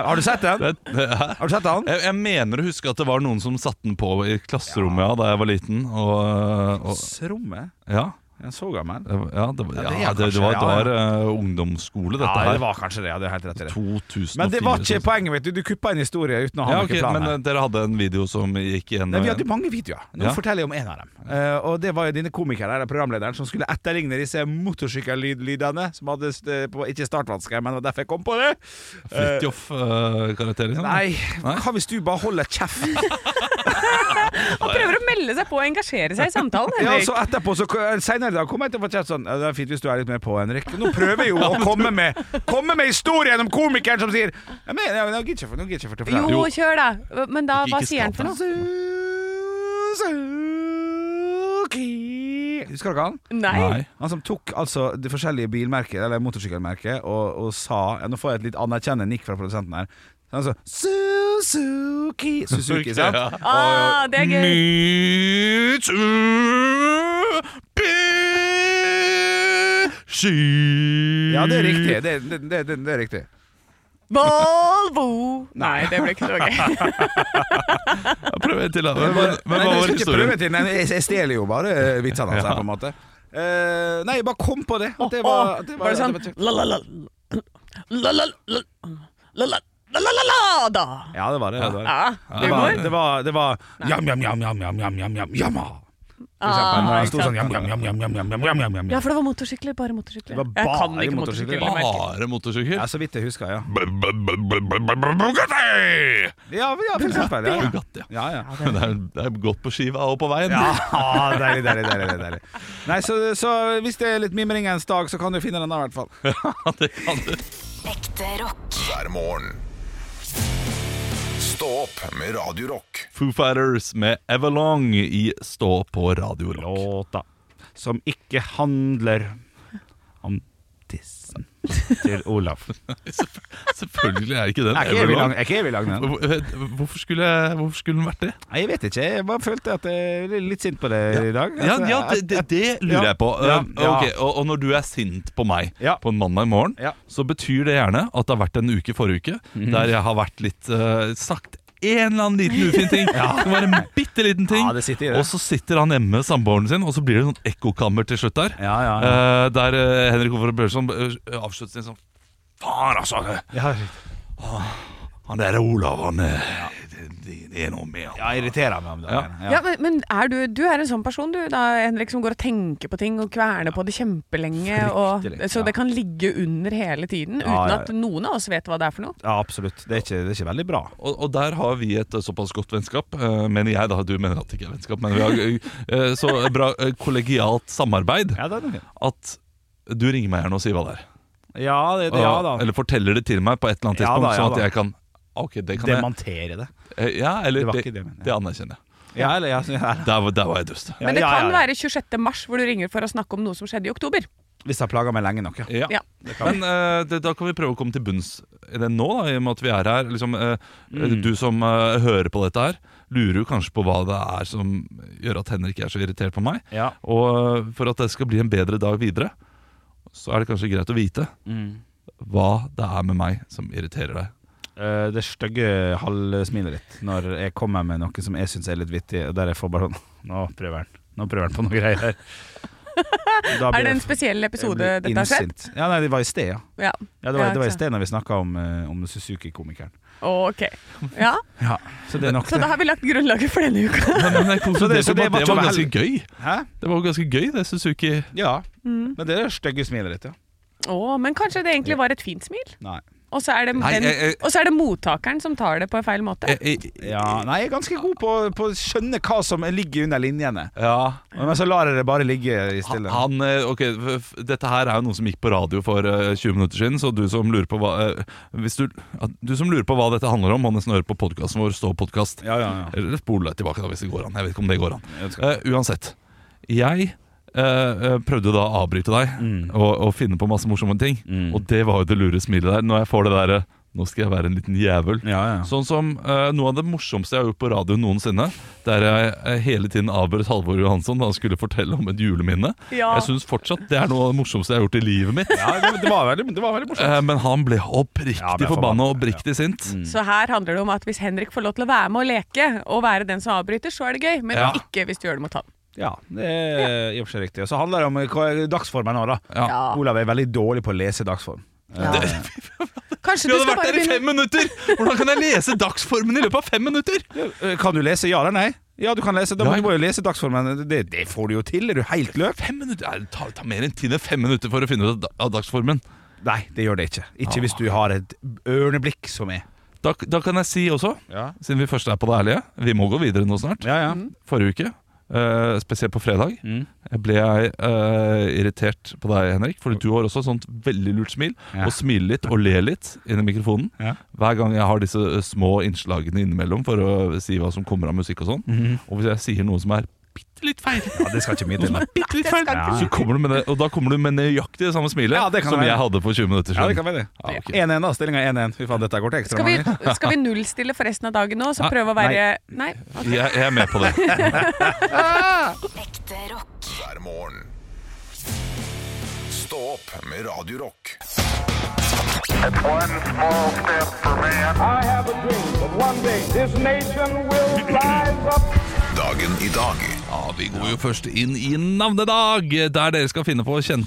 Har du sett den?
Det, det er.
Har du sett den?
eh, Jeg, jeg mener å huske at det var noen som satte den på i klasserommet ja, da jeg var liten. Og, og
Srommet?
ja,
En så gammel?
det, var- ja, det, var-
Ja, det er
ja, det, det var, det
kanskje, ja,
var eh, ungdomsskole, dette
Ja,
her.
det var kanskje det. Ja, det er helt rett i det.
2004.
Men det var ikke
sånn.
poenget, vet du. Du kuppa en historie uten å ha
Ja, ok,
noen plan.
men eh,
her.
dere hadde en video som gikk igjen?
Nei,
og
vi
igjen.
hadde mange videoer. Nå
Ja.
forteller jeg om en av dem. Eh, og Det var jo dine komikere eller programlederen som skulle etterligne disse motorsykkellydene som hadde st- på, ikke startvansker, men det var derfor jeg kom på det. Eh,
Fridtjof-karakterer?
nei, hva hvis du bare holder
(laughs)
kjeft?
Han prøver å melde seg på og engasjere seg i samtalen.
Ja,
Henrik.
så etterpå, så eh, Senere i dag kommer jeg til å få kjeft sånn «Ja, Det er fint hvis du er litt mer på, Henrik. Nå prøver
(laughs)
jeg jo å komme med Komme med historien om komikeren som sier «Ja, men, ja, Nå gidder jeg ikke for- nå gidder jeg ikke for til
Jo,
Jo.
kjør da. Men da, hva
Ikke
sier han for noe?
Suzuki Husker dere han?
Nei.
Nei.
Han som tok altså de forskjellige bilmerker Eller motorsykkelmerker og, og sa ja, Nå får jeg et litt anerkjennende nikk fra produsenten her Han sa Suzuki Suzuki, sant?
Ja.
Ah, det er gøy.
Ja, det er riktig Det, det, det, det, det er riktig
Volvo. Nei, det ble ikke så
(laughs)
gøy.
Jeg prøver til, da. Men, men, men hva var
Nei, jeg skal ikke prøve
historien?
til nei, Jeg, jeg stjeler jo bare eh, vitsene hans her, på en måte. Eh, nei, jeg bare kom på det. At det var, at det var,
Var det sånn
at det var-
la-la-la La-la-la-la-la-la-la-la-da.
Ja, det var det. Det var det.
Ja,
Det
det
var,
går.
det var, det var jam, jam, jam, jam, jam, jam, jam, jam, jamma.
Ah,
For eksempel, når han sto sånn jam, jam, jam, jam, jam, jam, jam, jam, jam,
Ah. Ja,
jam.
for det var motorsykler. Bare motorsykler.
Det var
Jeg kan
bare
ikke
motorsykler.
motorsykler. jeg merker.
Bare motorsykkel?
Ja, så vidt jeg husker, ja.
Bugatti!
Ja, ja for eksempel. Ja, ja.
Bugatti, ja.
ja, ja.
Det er, det er godt på skiva og på veien.
Ja, (laughs) deilig, deilig, deilig, deilig. Nei, så, så hvis det er litt mimringens dag, så kan du finne den der, i hvert fall.
det kan du.
Ekte rock.
hver morgen. Stå opp med Radio Rock.
Foo Fighters med Everlong i Stå på Radio Rock.
låta som ikke handler om tissen til Olaf.
Selvfølgelig er ikke den
(laughs) Er ikke evig lang, er ikke evig lang den?
Hvor- eh, Hvorfor skulle, hvorfor skulle den vært det?
Nei, jeg vet ikke. Jeg bare følte at jeg er litt sint på det i dag.
Ja,
Altså,
ja det,
at-
det, det lurer
Ja.
jeg på.
Ja.
Um, ok, og, og når du er sint på meg
Ja.
på en mandag morgen,
Ja.
så betyr det gjerne at det har vært en uke forrige uke
Mhm.
der jeg har vært litt uh, sagt en eller annen liten ufin
(laughs)
ting. Det var en bitte liten ting.
Ja, det sitter i det.
Og så sitter han hjemme med samboeren sin, og så blir det sånn ekkokammer til slutt der.
Ja, ja, ja.
Eh, der eh, Henrik Overflod Børson eh, avslutter sin sånn Faen, altså!
Ja,
Han der Olav, han eh,
det, det er noe med han. Ja, irriterer meg om dagen.
Ja, men, men er du, du er en sånn person, du, da, Henrik, som går og tenker på ting og kverner på det kjempelenge. Og,
Fryktelig,
så
ja.
det kan ligge under hele tiden, uten
Ja, ja, ja.
at noen av oss vet hva det er for noe.
Ja, absolutt. Det er ikke, det er ikke veldig bra.
Og, og der har vi et eh, såpass godt vennskap, eh, mener jeg da. Du mener at det ikke er vennskap, men vi har eh, så bra eh, kollegialt samarbeid
Ja, det er det.
at du ringer meg gjerne og sier hva det er.
Ja, det, det, ja da.
Eller forteller det til meg på et eller annet
Ja
tidspunkt,
da, ja
sånn at
da.
jeg kan Ok, det kan jeg.
Dementere det.
Eh, Ja, eller
Det var
det,
ikke det,
det,
men, ja.
anerkjenner jeg.
Ja, eller ja, så- ja.
Der, var- der var jeg dust.
Men det
ja, ja,
kan
ja.
være 26. mars hvor du ringer for å snakke om noe som skjedde i oktober.
Hvis jeg plager meg lenge nok, ja.
Ja.
Ja.
Men eh, det, da kan vi prøve å komme til bunns i det nå, da, i og med at vi er her. Liksom, eh,
Mm.
Du som eh, hører på dette her, lurer jo kanskje på hva det er som gjør at Henrik er så irritert på meg.
Ja.
Og eh, for at det skal bli en bedre dag videre, så er det kanskje greit å vite
Mm.
hva det er med meg som irriterer
(laughs)
deg.
Eh, det stygge halvsmilet ditt når jeg kommer med noe som jeg syns er litt vittig, og der jeg får bare sånn Nå prøver han. Nå prøver han på noe greier (laughs) her. Da blir
Er det en
jeg-
spesiell
jeg
episode
blir
dette har skjedd?
innsint. Ja, nei, det var i sted, ja.
Ja.
ja det, var,
Ja,
det var i
ikke
sted når vi snakka om, eh, om Suzuki-komikeren.
Ok. Ja,
Ja, så det er nok
så da
det.
har vi lagt grunnlaget for denne uka.
Men, men jeg
Så det-
konkluderte
så det
med at
var
det var
ikke
ganske gøy.
Hæ?
Det var jo ganske gøy, det Suzuki.
Ja. Men det er det stygge smilet ditt, ja.
Å, men kanskje det egentlig var et fint smil?
Nei.
Og så er det,
Nei,
den,
jeg- jeg- Eh,
og så er det mottakeren som tar det på en feil måte?
Eh,
Jeg, jeg,
Ja, nei, jeg er ganske god på, på å skjønne hva som ligger under linjene.
ja.
Men så lar jeg det bare ligge i
Han,
stille.
han, eh, ok, f- f- Dette her er jo noe som gikk på radio for eh, 20 minutter siden, så du som lurer på hva, eh, hvis du, ja, du som lurer på hva dette handler om, må nesten høre på podkasten vår Stå podkast.
Ja, ja, ja.
Eller spol deg tilbake, da, hvis det går an. Jeg vet ikke om det går an.
Jeg vet
Eh, uansett. Jeg eh, eh, prøvde da å avbryte deg og, og finne på masse morsomme ting, og det var jo det lure smilet der. Når jeg får det derre 'nå skal jeg være en liten jævel'.
Ja, ja.
Sånn som eh, Noe av det morsomste jeg har gjort på radio noensinne, der jeg eh, hele tiden avbrøt Halvor Johansson da han skulle fortelle om et juleminne.
Ja.
Jeg syns fortsatt det er noe av det morsomste jeg har gjort i livet mitt.
Ja, det, det var veldig, det var veldig morsomt.
Eh, men han ble oppriktig
Ja, Mm. ble
forbanna
forbanna,
og oppriktig sint.
Så her handler det om at hvis Henrik får lov til å være med og leke, og være den som avbryter, så er det gøy. Men
Ja.
ikke hvis du gjør det mot han.
Ja, det er i og for seg riktig. Og så handler det om eh, hva er dagsformen nå, da.
Ja.
Olav er veldig dårlig på å lese dagsform.
Kanskje
Vi
du
hadde
skal
vært
bare
der i
begynne
fem minutter! Hvordan kan jeg lese dagsformen i løpet av fem minutter?
Eh, Kan du lese ja eller nei? Ja, du kan lese. Da må
Ja.
du bare lese dagsformen. Det, det får du jo til. Er du helt løk?
Fem minutter? Nei, Det tar, tar mer enn ti enn fem minutter for å finne ut av da- av dagsformen.
Nei, det gjør det ikke. Ikke hvis du har et ørneblikk som er.
Da, da kan jeg si også,
Ja.
siden vi først er på det ærlige Vi må gå videre nå snart.
Ja, ja.
Mhm.
Forrige uke, eh, spesielt på fredag,
Mm.
Jeg ble jeg eh, irritert på deg, Henrik, fordi du har også et sånt veldig lurt smil.
Ja.
Og smiler litt og ler litt inn i mikrofonen.
Ja.
Hver gang jeg har disse eh, små innslagene innimellom for å si hva som kommer av musikk og sånn.
Mhm.
Og hvis jeg sier noe som er bitte litt feil,
ja det skal ikke mye til.
bitte litt feil så kommer du med det, og da kommer du med nøyaktig det samme smilet
Ja, det kan
som
være.
jeg hadde for 20 minutter
Ja, det
siden.
kan være det.
Ja, ok.
1-1, da. Stillinga 1-1. Fy faen, dette går til ekstra
skal vi,
mange.
(laughs)
skal vi nullstille for resten av dagen nå, så
Ah, Nei,
prøve å være Nei? Ok.
Jeg, jeg er med på det.
Ekte rock.
hver morgen. Stå opp med Radio Rock.
I have a dream that one day this nation will rise up.
Dagen i dag
Ja, Vi går jo først inn i navnedag, der dere skal finne på kjente,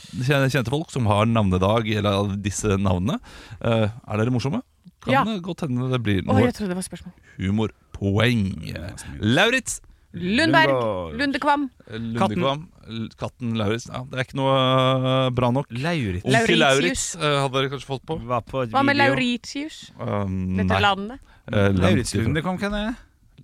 kjente folk som har navnedag, eller av disse navnene. Eh, er dere morsomme? Kan
Ja.
det godt hende det blir
Å,
noe
jeg trodde det var spørsmål.
humorpoeng. Lauritz.
Lundberg.
Lundberg.
Lundekvam.
Lundekvam. L- Katten Lauritz. Ja, det er ikke noe eh, bra nok.
Lauritz
Onkel Lauritz
Lauritius.
eh, hadde dere kanskje fått på.
var på
Hva med Lauritius?
Um,
Dette landet?
Eh, langt
Lauritz
ifra.
Lunde kom, kan jeg?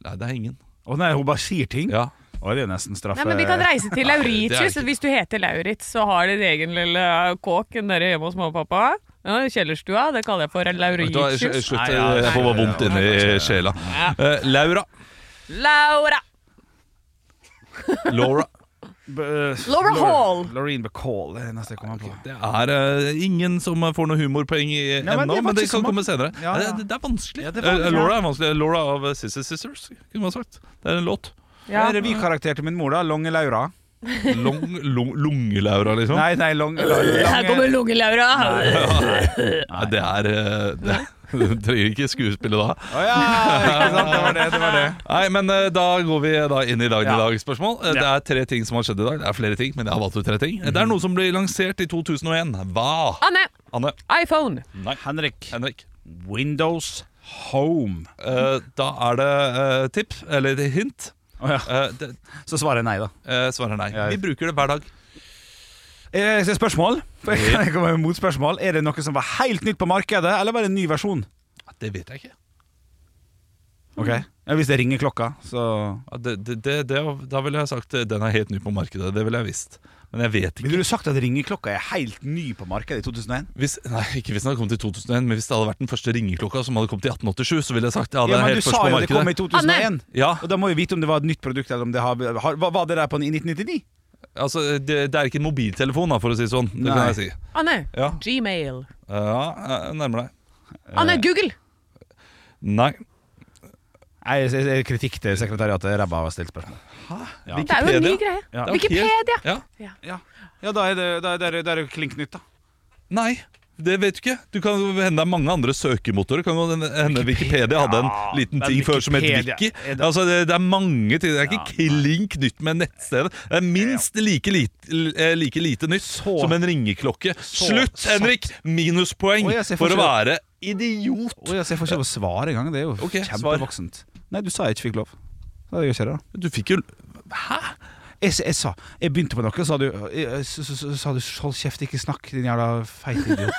Nei, det er ingen.
Å nei, hun bare sier ting.
Ja.
Å, det er jo nesten straffe.
Nei, men De kan reise til
det er
Lauritius.
ikke-
Hvis du heter Lauritz, så har din egen lille kåk der hjemme hos mamma og pappa. Ja, Kjellerstua. Det kaller jeg for
Vet du hva, sl-
Lauritius.
Slutt,
Nei, ja,
jeg får bare vondt inni sjela. Eh, Laura.
Laura.
Laura.
Laura Hall.
eh, Laureen Bacall er det neste jeg kommer på.
Det er eh, ingen som får noe humorpoeng i
Nei,
ennå,
men det er
men det
faktisk
kan
så
komme
mange-
senere.
Ja,
Nei,
ja.
Det, det er vanskelig.
Ja, det er vanskelig,
Eh, Laura er vanskelig. Laura av eh, Sister Sisters, kunne man sagt. Det er en låt.
Ja.
Det er Revykarakteren til min mor, da. Lange Laura.
Long, long, Lunge-Laura, liksom.
Nei, nei, lang,
(laughs)
lange
Her kommer Lunge-Laura.
Nei, det er eh, (laughs) det, Du trenger ikke skuespillet da.
Å ja, ikke sant. Det var det. det, var det.
Nei, men eh, da går vi da inn i dagen i
Ja. Mhm.
dag. Spørsmål. Eh, Det er tre ting som har skjedd i dag. Det er flere ting, men jeg har valgt ut tre ting. Eh, Det er noe som ble lansert i 2001. Hva?
Anne.
Anne.
iPhone.
Henrik.
Henrik.
Windows Home.
da er det eh, tipp, eller et hint. Eh,
så svarer jeg nei, da.
svarer nei. Vi bruker det hver dag.
Eh,
(laughs)
Spørsmål? For jeg kan komme med motspørsmål. Er det noe som var helt nytt på markedet, eller var det en ny versjon?
Det vet jeg ikke.
Ok
Mm.
ja, Hvis det ringer klokka, så
Ja, det, det, det, det, da ville jeg sagt eh, den er helt ny på markedet. Det ville jeg visst. Men jeg vet ikke.
Ville du sagt at ringeklokka er helt ny på markedet i 2001?
Hvis, nei, ikke hvis den hadde kommet i 2001, men hvis det hadde vært den første ringeklokka som hadde kommet i 1887, så ville jeg sagt ja, det er
Ja, men
helt
Du
først
sa
på
jo det
markedet.
kom i 2001,
Ja,
og da må vi vite om det var et nytt produkt. Eller om det har, har, var- var det der på en i 1999?
altså det, det er ikke en mobiltelefon, da, for å si det sånn. Det kan
Nei.
jeg si.
Å nei,
Ja.
Gmail.
Ja, jeg nærmer deg.
Å nei, Google!
Nei.
Nei, jeg- jeg- jeg- kritikk til sekretariatet. Ræva har stilt spørsmål. Ja.
Det er jo en ny greie.
Ja.
Wikipedia!
Ja.
Ja, ja da er det, da er det, da er det jo klink nytt, da.
Nei, det vet du ikke. Du kan jo hende det er mange andre søkemotorer. Kan jo hende Wikipedia hadde en liten
men
ting før som het
Wikipedia
Wiki.
er det-
Altså, det, det er mange ting. Det er ikke klink nytt med nettstedet. Det er minst like lite, eh, like lite nytt som en ringeklokke. Slutt,
sant.
Henrik! Minuspoeng
Å, jeg ser
for å
forskjell.
være idiot.
Å, ja, så jeg får ikke lov å svare engang. Det er jo
Ok, svar.
kjempevoksent. Nei, du sa jeg ikke fikk lov. Da gjør jeg ikke det, da.
Du fikk jo
Jeg, jeg sa Jeg begynte på noe, og sa du jeg- så, så, så, sa du 'hold kjeft, ikke snakk, din jævla feite idiot'.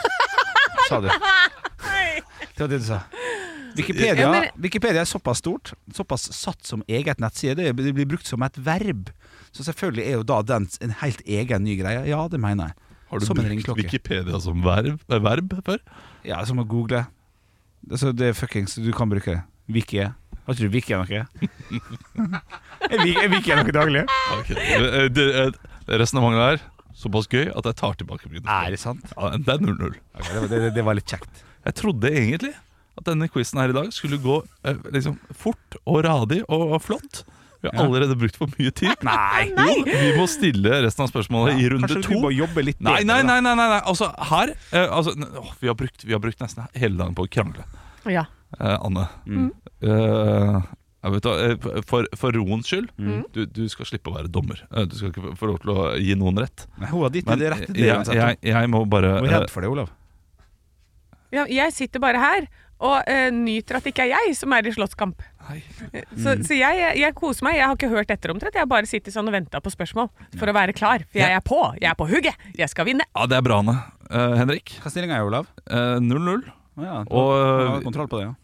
sa du. Det var det du sa. Wikipedia,
Ja, men-
Wikipedia er såpass stort, såpass satt som eget nettside. Det blir- det blir brukt som et verb. Så selvfølgelig er jo da den en helt egen ny greie. Ja, det mener jeg.
Har du
som en
brukt
ringeklokke.
Wikipedia som verb, eh, verb før?
Ja, som å google. Altså, det er fuckings Du kan bruke det. Wiki. Har ikke du wiki noe? Jeg wiki- jeg wiki noe daglig.
Okay. Eh, Det, eh, Resonnementet der såpass gøy at jeg tar tilbake min.
Er det sant?
Ja, det er 0-0.
Ok, det, var- det, det var litt kjekt.
Jeg trodde egentlig at denne quizen her i dag skulle gå eh, liksom fort og radig og, og flott. Vi har
Ja.
allerede brukt for mye tid.
Nei!
Jo, vi må stille resten av spørsmålet i runde
Kanskje
to.
du må jobbe litt
Nei,
bedre,
nei,
da.
nei, nei, nei, nei. Altså, her eh, altså, n- åh, vi, har brukt, vi har brukt nesten hele dagen på å krangle.
Ja.
Eh, Anne.
Mm.
Eh, jeg vet, da, eh, for, for roens skyld,
Mm.
du, du skal slippe å være dommer. Eh, Du skal ikke få lov til å gi noen rett.
Nei, Hun har ditt i
Men
det rette. Det,
jeg,
uansett.
jeg, jeg må bare eh,
Hun er redd for det, Olav.
Ja, jeg sitter bare her og eh, nyter at det ikke er jeg som er i slåsskamp.
Nei.
Så, så jeg, jeg, eh, jeg koser meg. Jeg har ikke hørt etter omtrent. Jeg har bare sittet sånn og venta på spørsmål for å være klar. For jeg er på. Jeg er på hugget. Jeg skal vinne.
Ja, det er bra, Anne. Eh, Henrik,
Hva stillinga er, Olav?
eh, 0-0.
Å ja, du
Og- eh,
har kontroll på det, ja.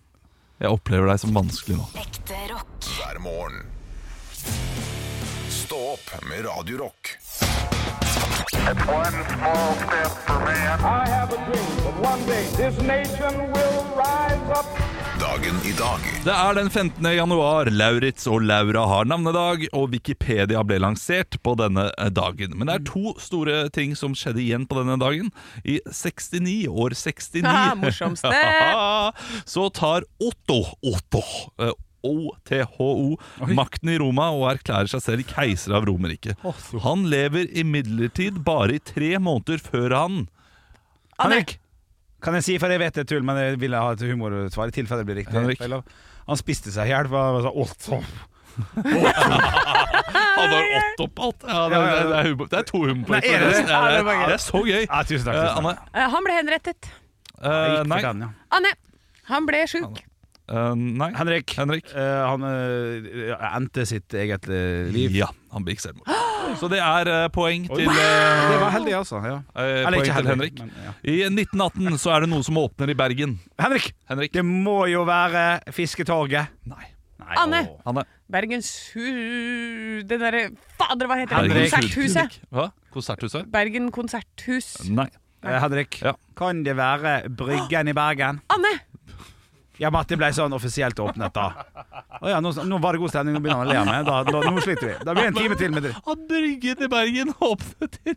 Jeg opplever deg som vanskelig nå.
Ekte rock.
hver morgen. Stå opp med Radio Rock.
One small step for man.
I have a dream that one day this nation will rise up. Dagen i dag
Det er den 15. januar. Lauritz og Laura har navnedag, og Wikipedia ble lansert på denne eh, dagen. Men det er to store ting som skjedde igjen på denne dagen. I 69, år 69
Ah, morsomst det.
(laughs) Så tar Otto Otto eh, OTHO makten i Roma og erklærer seg selv keiser av Romerriket. Han lever imidlertid bare i tre måneder før han
Henrik! Kan jeg si, for jeg vet det er tull, men jeg ville ha et humorsvar i tilfelle det blir riktig.
Henrik.
Olav. Han spiste seg i hjel. for han sa, «Åh, så».
Han har åtte opp alt. Ja, det, er, det, er humor. det er to humorpoeng.
Nei, er det det?
Ja, det, er- det er så gøy.
Ja, tusen takk.
Eh,
Tusen takk.
Anne?
Eh, han ble henrettet.
Jeg
Eh,
gikk for
nei.
den, ja.
Anne, han ble sjuk.
Eh, nei.
Henrik,
Henrik?
eh, han eh, endte sitt eget eh, liv.
Ja, han begikk selvmord. Så det er eh, poeng til,
Det
eh,
var heldig, altså. Ja.
eh,
Eller
poeng
ikke
til Henrik.
Henrik, men, ja.
I 1918 så er det noe som åpner i Bergen.
Henrik!
Henrik?
Det må jo være Fisketorget.
Nei.
Nei,
Anne.
åh.
Hanne?
Bergens hu... Det derre Fader, hva heter det?
Bergen
Konserthuset.
Kulturklinikk. Hva? Konserthuset?
Bergen konserthus.
Nei.
Eh, Henrik,
Ja.
kan det være Bryggen i Bergen?
Anne!
Ja, men at det ble sånn offisielt åpnet da. Å ja, nå, nå var det god stemning, nå begynner han å le av meg. Da, da, nå sliter vi. Da blir det en time til med dritt.
At Bryggen i Bergen (laughs) åpnet i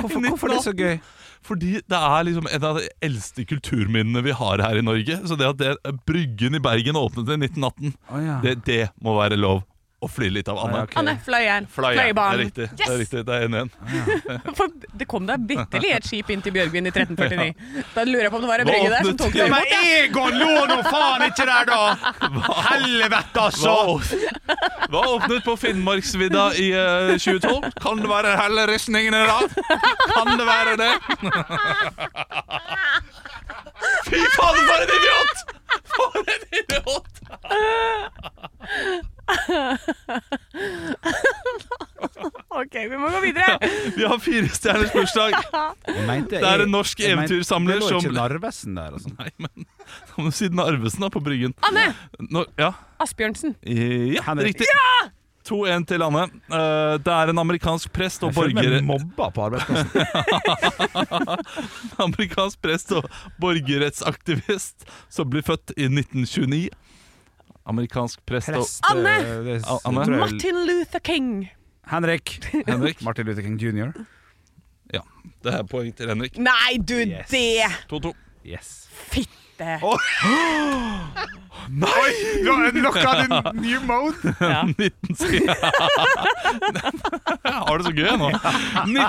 Hvorfor, hvorfor er det så gøy?
Fordi det er liksom en av de eldste kulturminnene vi har her i Norge. Så det at det, Bryggen i Bergen åpnet i 1918,
Å, ja.
det, det må være lov å flire litt av
Å, ja,
Anne.
ok.
Anne, fløyeren.
Fløye. Det er
Fløyebanen.
riktig. Det er riktig, det er 1-1.
For det kom da vitterlig et skip inn til
(laughs)
Bjørgvin i 1349. Da lurer jeg på om det var en brygge der som
Våpenet
tok
til-
det
Men
imot. ja.
Egon lå nå faen ikke der, da! Helvete,
Hva,
altså!
hva åpnet på Finnmarksvidda i eh, 2012? Kan det være hele ristningen i dag? Kan det være det? Fy faen, for en idiot!
OK, vi må gå videre.
Vi har fire stjerners bursdag.
mente-
Det er en norsk
jeg mente-
eventyrsamler
det lå
som
ikke Narvesen der, altså.
Nei, men Nå må du si Narvesen, da, på Bryggen.
Anne
Nå, ja.
Asbjørnsen.
Ja, riktig. 2-1 til Anne. Eh, det er en amerikansk prest og
Jeg føler
borger...
meg mobba på arbeidsplassen.
amerikansk prest og borgerrettsaktivist som blir født i 1929. Amerikansk prest,
Prest,
og
Anne!
eh, det-
A- Anne?
det tror jeg-
Martin Luther King.
Henrik.
Henrik.
Martin Luther King jr.
Ja, det er poeng til Henrik.
Nei, du,
Yes.
det
(laughs) 2-2.
Yes.
Fitte.
Nei!
Du har unlocka din new mode!
19... (laughs) Har det så gøy nå.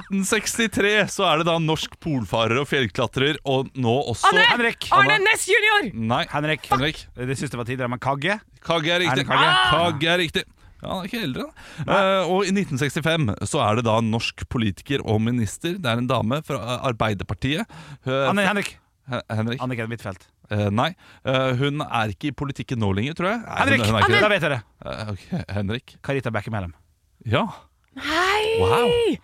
1963 så er det da norsk polfarer og fjellklatrer, og nå også
Anne!
Henrik.
Arne Næss jr.
Nei,
Henrik.
Henrik.
Det siste var tidligere, men Kagge?
Kagge er
Er
riktig. Ah!
det Kagge?
Kagge er riktig. Ja, han er ikke eldre, da. Eh, og i 1965 så er det da en norsk politiker og minister. Det er en dame fra Arbeiderpartiet. Eh, Hun-
Anne, Henrik.
Hen- Henrik?
Anniken Huitfeldt.
Eh, nei. Eh, hun er ikke i politikken nå lenger, tror jeg. Nei,
Henrik!
Hun, hun er ikke det.
Da vet dere.
Eh, ok, Henrik.
Karita Bekkemellem.
Ja.
Hei!
Wow.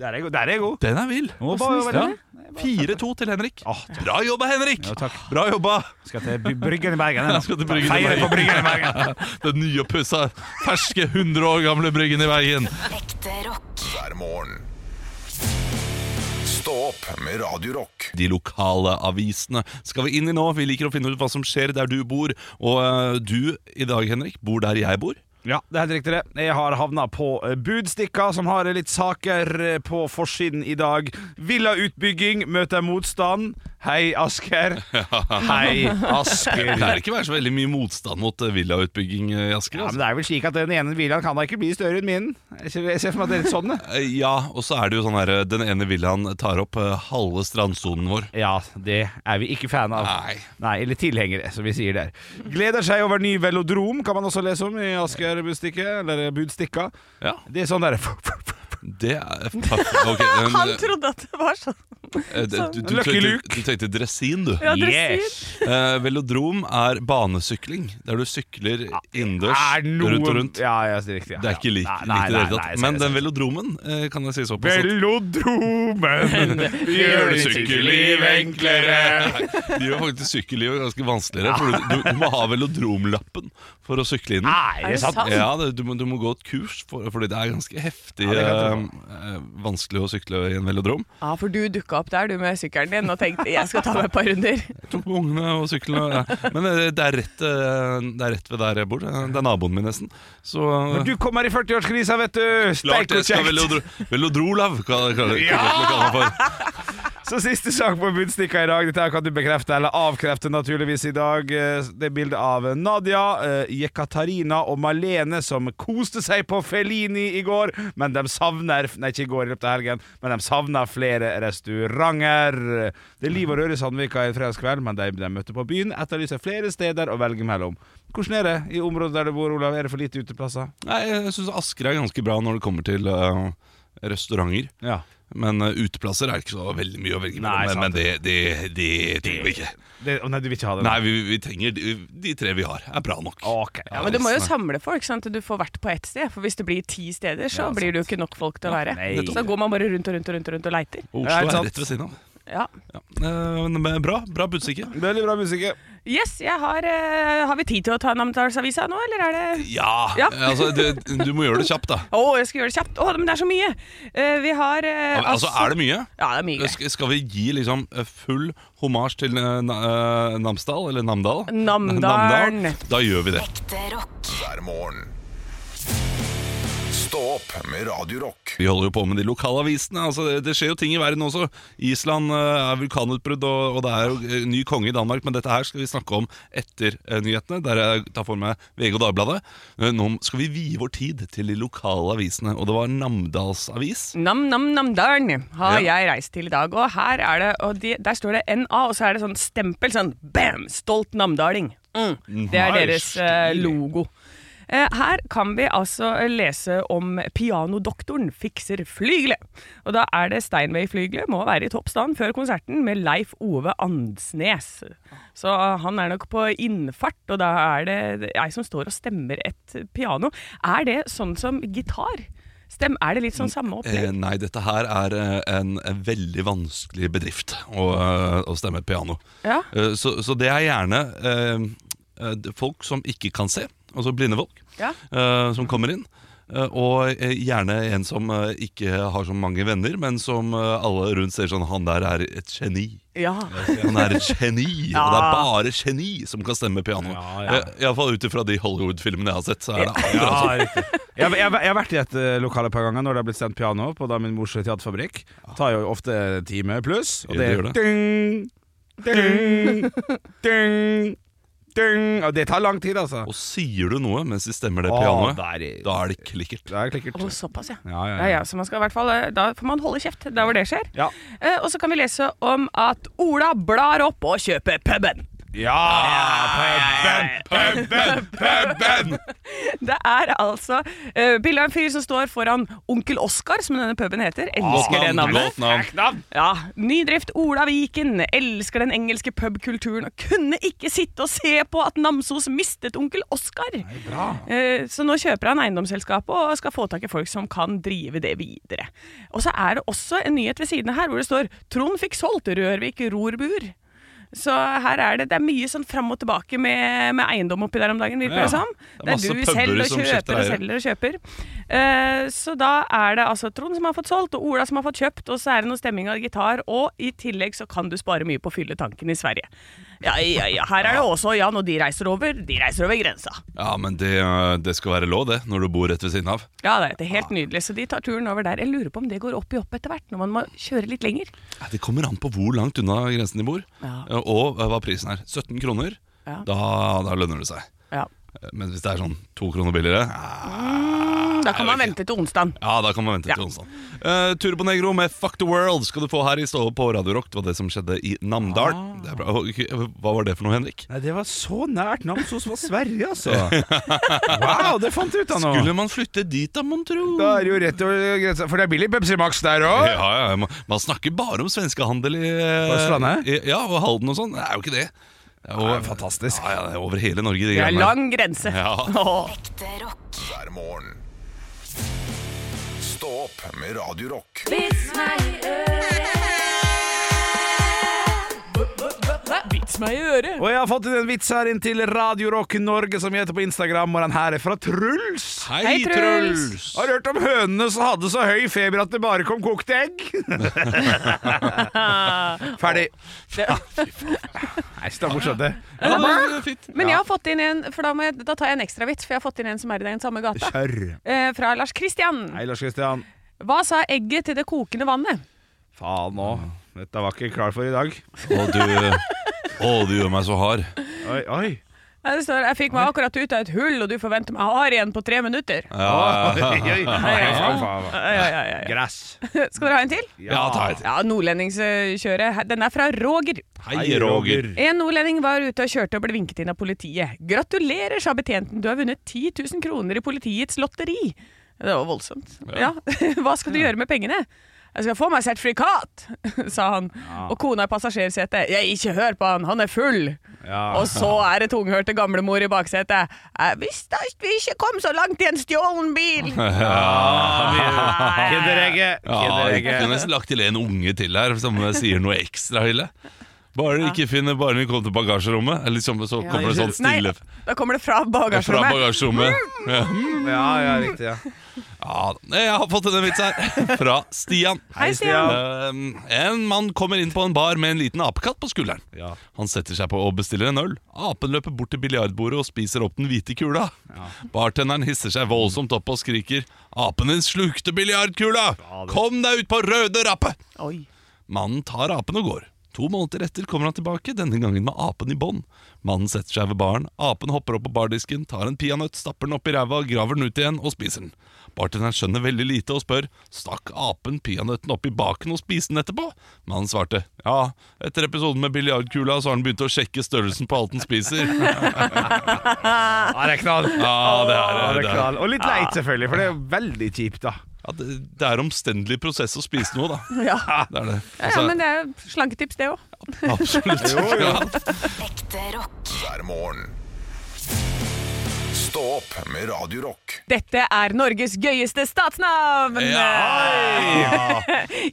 Der er jeg god. Der er jeg god.
Den er vill.
Nå bare- Ah,
Ja. 4-2 til Henrik. Bra jobba, Henrik!
Jo, takk.
Bra jobba!
Skal til By- Bryggen i Bergen. jeg nå.
Jeg skal til Bryggen i
Feire
Bergen.
på Bryggen i Bergen.
Den nyoppussa, ferske 100 år gamle Bryggen i Bergen.
Ekte rock.
hver morgen. Stå opp med Radio Rock.
de lokale avisene. Skal vi inn i nå? Vi liker å finne ut hva som skjer der du bor. Og eh, du i dag, Henrik, bor der jeg bor.
Ja, det er helt riktig det. Jeg har havna på eh, Budstikka, som har litt saker eh, på forsiden i dag. Villautbygging møter motstand. Hei, Asker. Hei,
(laughs)
Asker.
Det er ikke være så veldig mye motstand mot eh, villautbygging eh, i Asker.
Ja, men
Altså.
det er vel slik at den ene villaen kan da ikke bli større enn min. Jeg ser- Jeg ser for meg at det er litt sånn, det.
Eh, Ja, og så er det jo sånn her eh, Den ene villaen tar opp eh, halve strandsonen vår.
Ja, det er vi ikke fan av.
Nei.
eller tilhengere, som vi sier der. Gleder seg over ny velodrom, kan man også lese om i Asker Budstikke, eller Budstikka.
Ja,
Det er sånn der
det er
(laughs)
ok, men,
Han trodde at det var sånn.
eh, det- du, du,
Lucky
tenkte,
Luke.
du tenkte dressin, du.
Ja, dere
Eh, velodrom er banesykling, der du sykler innendørs
Er noen
rundt og rundt.
Ja, ja, det er riktig. Ja.
Det er ikke lik,
Nei,
likt i det
nei,
hele
nei,
tatt.
nei,
Men
jeg
den
ser-
velodromen eh, kan jeg si såpass. at- (laughs)
Velodromen gjør ditt sykkelliv enklere.
De gjør faktisk sykkellivet ganske vanskeligere. For du, du, du må ha velodromlappen for å sykle inn.
Nei, det er sant.
Ja, det, du, må, du må gå et kurs, for, fordi det er ganske heftig
Ja, det kan
eh, eh, vanskelig å sykle i en velodrom.
Ja, for du dukka opp der du med sykkelen din og tenkte jeg skal ta meg et par runder.
Jeg tok (laughs) med ungene og syklene. og- Ja. Men eh, det er, rett, eh, det er rett ved der jeg bor. Eh, Det er naboen min, nesten. Så eh,
Men du kommer i 40-årskrisa, vet du.
klart
Steik
jeg
og
skal
kjekt.
velodro, velodrolav, hva hva- hva- hva kaller man for.
Så siste sak på Budstikka i dag. Dette her kan du bekrefte eller avkrefte naturligvis i dag. Eh, Det er bilde av Nadia, eh, Jekaterina og Malene som koste seg på Felini i går. Men de savner Nei, ikke i går, i løpet av helgen. Men de savner flere restauranter. Det er liv og røre i Sandvika i fredagskveld, men de de møtte på byen, etterlyser flere steder å velge mellom. Hvordan er det i området der du bor, Olav? Er det for lite uteplasser?
Nei, jeg syns Asker er ganske bra når det kommer til eh, restauranter.
Ja.
Men eh, uteplasser er det ikke så veldig mye å velge
Nei,
mellom. Men,
sant.
men det, det, det trenger vi ikke.
Det, å, nei, du vil ikke ha det?
Nei, vi, vi trenger de, de tre vi har, er bra nok.
Ok.
Ja, Men du må jo samle folk, sånn at du får vært på ett sted. For hvis det blir ti steder, så
Ja,
blir det jo ikke nok folk til å være.
nei.
Så da går man bare rundt og rundt og rundt og, rundt og leiter.
Og
Ja,
Oslo
ikke
er
sant.
rett ved siden av.
Ja.
Ja. Eh, men- Men bra bra budstikke.
Veldig bra musikk. ja.
Yes, jeg har eh, Har vi tid til å ta Namdalsavisa nå, eller er det
Ja!
Ja.
eh, Altså, det, du må gjøre det kjapt, da.
Å, jeg skal gjøre det kjapt! Å, men det er så mye! Eh, vi har eh,
Altså, Er det mye?
Ja, det er mye. greier.
Sk- Skal vi gi liksom eh, full homasj til eh, Na- eh, Namsdal? Eller Namdal?
(laughs) Namdalen.
Da gjør vi det.
Ekte rock.
Hver morgen. Stå opp med Radio Rock.
Vi holder jo på med de lokale avisene. Altså, det, det skjer jo ting i verden også. Island eh, er vulkanutbrudd, og, og det er jo eh, ny konge i Danmark. Men dette her skal vi snakke om etter eh, nyhetene, der jeg tar for meg VG og Dagbladet. Eh, nå skal vi vie vår tid til de lokale avisene, og det var Namdals avis.
Nam Nam Namdalen har
Ja.
jeg reist til i dag, og her er det og de, Der står det NA, og så er det sånn stempel, sånn bam! Stolt namdaling. Mm. Det er
Nice,
deres eh,
stilig.
logo. Eh, Her kan vi altså lese om pianodoktoren fikser flygelet. Og da er det Steinway-flygelet må være i topp stand før konserten med Leif Ove Andsnes. Så eh, han er nok på innfart, og da er det ei som står og stemmer et piano. Er det sånn som gitar? Stem, er det litt sånn samme opplegg?
Eh, nei, dette her er eh, en, en veldig vanskelig bedrift å, eh, å stemme et piano.
Ja.
Eh, så, så det er gjerne eh, eh, folk som ikke kan se, altså blinde folk,
Ja.
eh, som kommer inn. eh, Og eh, gjerne en som eh, ikke har så mange venner, men som eh, alle rundt ser sånn Han der er et geni.
Ja.
Han er et
(laughs)
geni, og det er
Ja.
bare geni som kan stemme piano.
ja.
Eh, i alle fall ut ifra de Hollywood-filmene jeg har sett. Så er det
Ja,
akkurat sånn.
riktig. jeg, jeg, jeg har vært i et eh, lokale et par ganger når det har blitt sendt piano på da min mors teaterfabrikk. Tar jo ofte en time pluss, og
Ah. Ja,
det
det
er
gjør det.
ding, ding, ding, ding. Og det tar lang tid, altså.
Og sier du noe mens de stemmer det
Å,
pianoet,
der er-
da er det klikkert.
Å, såpass, ja.
Ja, ja,
Ja, ja, så man skal i hvert fall, eh, Da får man holde kjeft der hvor det skjer.
Ja.
Eh, og så kan vi lese om at Ola blar opp og kjøper puben. (laughs)
Ja! Puben, puben, puben!
Det er altså eh, bilde av en fyr som står foran Onkel Oskar, som denne puben heter.
Ah,
Elsker det navnet. Ja, Nydrift Ola Viken elsker den engelske pubkulturen og kunne ikke sitte og se på at Namsos mistet onkel Oskar. Eh, Så nå kjøper han eiendomsselskapet og skal få tak i folk som kan drive det videre. Og så er det også en nyhet ved siden av her hvor det står Trond fikk solgt Rørvik rorbur. Så her er det, det er mye sånn fram og tilbake med, med eiendom oppi der om dagen, virker
Ja,
det som.
det er
Det er,
masse
du
puber
selger og
som skifter
kjøper og
eiere.
selger og kjøper. Eh, så da er det altså Trond som har fått solgt, og Ola som har fått kjøpt, og så er det noe stemming av gitar, og i tillegg så kan du spare mye på å fylle tanken i Sverige. Ja, ja, ja. Her er det også Jan, og de reiser over. De reiser over grensa.
Ja, men det, eh, det skal være lov, det, når du bor rett ved siden av.
Ja, det er helt nydelig. Så de tar turen over der. Jeg lurer på om det går opp i opp etter hvert, når man må kjøre litt lenger.
Nei, Det kommer an på hvor langt unna grensen de bor,
Ja.
eh, og eh, hva prisen er. 17 kroner,
Ja.
da, da lønner det seg.
Ja.
Eh, Men hvis det er sånn to kroner billigere, eh,
Mm, da kan man vente til onsdag.
ja, da kan man vente til onsdag. Eh, Turbo Negro med Fuck the World skal du få her i Ståle på Radio Rock. Det var det som skjedde i Namdal.
Ah.
Det er bra. Og, eh, Hva var det for noe, Henrik?
Nei, det var så nært Namsos var Sverige,
(laughs)
altså. Wow, det fant jeg ut av nå.
Skulle man flytte dit, da, mon tro?
Da er det jo rett over grensa, for det er billig Pepsi Max der
Ja,
òg.
ja, ja. Man, man snakker bare om svenskehandel i eh,
På Østlandet?
i- Ja, og Halden og sånn. Det er jo ikke det. Det er jo fantastisk. (laughs) Ja, ja, det er over hele Norge, de
Det er
greiene der.
lang grense.
Ja.
Åh.
Ekte rock.
Hver morgen. Stå opp med Radio Rock.
Vits meg i øret.
Og jeg har fått inn en vits her inn til Radio Rock Norge, som heter på Instagram, og den her er fra Truls.
Hei,
Hei, Truls.
Truls!
Har du hørt om hønene som hadde så høy feber at det bare kom kokte egg. Ferdig. (laughs) Nei, så det er morsomt, det.
Ja, det er fint.
Men jeg har fått inn en, for da, må jeg, da tar jeg en ekstra vits, for jeg har fått inn en som er i den samme gata.
Kjør.
Eh, fra Lars Kristian.
Hei, Lars Kristian.
Hva sa egget til det kokende vannet?
Faen òg. Dette var ikke klar for i dag.
Å, du, å, du gjør meg så hard.
Oi, oi.
Ja, Det står 'Jeg fikk meg akkurat ut av et hull, og du forventer meg hard igjen på tre minutter'.
Ah.
Oi,
(laughs)
oi, oi.
Ja, ja, ja, ja.
Gress.
Skal dere ha en til?
Ja, ta et.
Ja, nordlendingskjøret. Her- Den er fra Roger.
Hei, Roger.
En nordlending var ute og kjørte og ble vinket inn av politiet. 'Gratulerer', sa betjenten, 'du har vunnet 10 000 kroner i politiets lotteri'. Det var voldsomt. Ja. (laughs) Hva skal du gjøre med pengene? Jeg skal få meg sertifikat, (laughs) sa han. Og kona i passasjersetet. Jeg ikke hør på han, han er full.
Ja.
Og så er det tunghørte gamlemor i baksetet. «Jeg visste at vi ikke kom så langt i en stjålen bil!
Ja,
Kinderegget.
jeg
Kinderegget.
kunne nesten lagt til en unge til her som sier noe ekstra ille. Bare ikke finne Bare når vi kommer til bagasjerommet, eller liksom, så kommer det sånn stille
Nei, da kommer det fra
fra
bagasjerommet.
bagasjerommet. Ja.
Ja, ja, riktig. ja
Ja, jeg har fått denne vitsen her fra Stian.
Hei, Stian.
Um, en mann kommer inn på en bar med en liten apekatt på skulderen.
Ja.
Han setter seg på og bestiller en øl. Apen løper bort til biljardbordet og spiser opp den hvite kula. Bartenderen hisser seg voldsomt opp og skriker 'Apen din slukte biljardkula! Kom deg ut på røde rappet!'
Oi.
Mannen tar apen og går. To måneder etter kommer han tilbake, denne gangen med apen i bånd. Mannen setter seg ved baren, apen hopper opp på bardisken, tar en peanøtt, stapper den opp i ræva, graver den ut igjen og spiser den. Bartenderen skjønner veldig lite og spør Stakk apen peanøtten opp i baken og spiste den etterpå? Mannen svarte ja, etter episoden med biljardkula så har han begynt å sjekke størrelsen på alt han
(laughs)
spiser.
Ja, det er knall.
Ja, det er,
Ja, det
det
er
er.
knall. Og litt leit, selvfølgelig, for det er jo veldig kjipt, da.
Ja, det, det er omstendelig prosess å spise noe, da.
Ja.
Det er det.
Ja, ja,
Altså,
men det er slanketips, det òg. (laughs)
Absolutt.
Ekte rock.
Hver morgen. Stå opp med Radio Rock.
Dette er Norges gøyeste statsnavn! eh,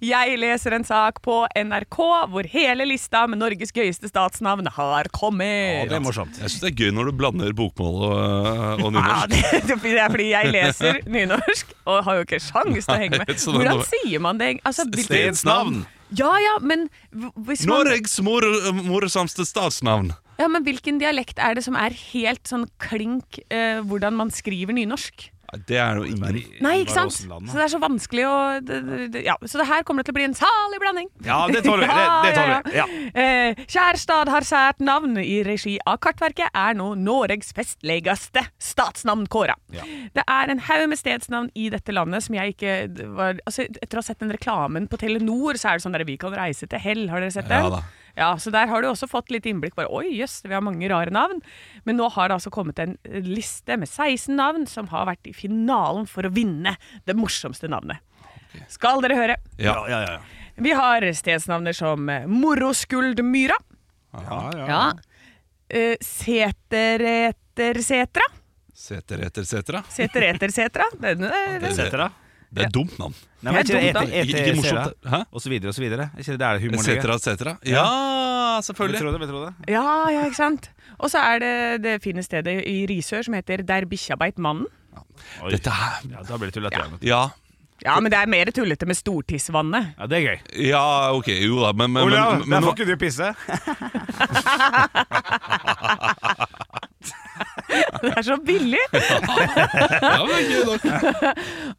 Jeg leser en sak på NRK hvor hele lista med Norges gøyeste statsnavn har kommet.
Jeg syns det er gøy når du blander bokmål og, øh, og
Ja,
nynorsk.
det, det er fordi jeg leser nynorsk og har jo ikke sjans til å henge
Nei,
med.
(laughs) så det
Hvordan
må-
sier man det? Altså, hvilket-
Stedsnavn.
Ja, ja, men hv- hvis man
Norges mor, morsomste statsnavn.
Ja, men Hvilken dialekt er det som er helt sånn klink eh, hvordan man skriver nynorsk?
Nei, Det er jo ingen.
Nei, ikke sant? Så det er så vanskelig å det- det- det- Ja, så det her kommer det til å bli en salig blanding.
Ja, det tåler vi.
Ja,
Det, det tåler
ja,
vi.
ja.
Ja.
Eh, Kjærstad har sært navn i regi av Kartverket, er nå Norges festligste statsnavn kåra.
Ja.
Det er en haug med stedsnavn i dette landet som jeg ikke var altså, Etter å ha sett den reklamen på Telenor, så er det sånn der Vi kan reise til hell, har dere sett den?
Ja da.
Ja, så der har du også fått litt innblikk. Bare oi, jøss, vi har mange rare navn. Men nå har det altså kommet en liste med 16 navn som har vært i finalen for å vinne det morsomste navnet. Skal dere høre?
Ja, ja, ja.
Vi har stedsnavner som Moroskuldmyra. Ja. Eh, Seteretersetra.
Seter etter setra.
Seteretersetra. Den, den,
Det-
Setra?
Det er dumt navn.
Nei, men E
Det er
er ikke
dumt,
det
da.
et-
Ikke
et-
morsomt,
et- Og så videre og så videre. Er ikke det der humoren
Setra, setra. Ja, selvfølgelig.
Vi tror det, vi tror det.
Ja, ja, ikke sant? Og så er det det fine stedet i Risør som heter Der bikkja beit mannen.
Dette her
Ja, da blir det tullete igjen.
Ja.
Ja, men det er mer tullete med Stortissvannet. (laughs)
Ja, det er gøy.
Ja, ok, jo da, men, men, men,
Olav, der
men
får ikke du pisse.
Det er så billig!
Ja, men det er gøy nok.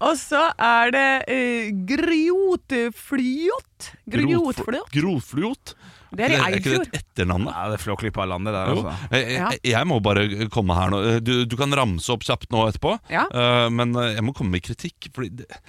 Og så er det uh, Gryotflyot. Gryotflyot.
Grotflot?
Det er i
ikke det
Eidfjord.
et etternavn, da?
Ja, det er flåklypa av landet der,
Jo.
altså.
Jeg, jeg, jeg må bare komme her nå. Eh, Du, du kan ramse opp kjapt nå etterpå,
Ja.
eh, men jeg må komme med kritikk. Fordi det,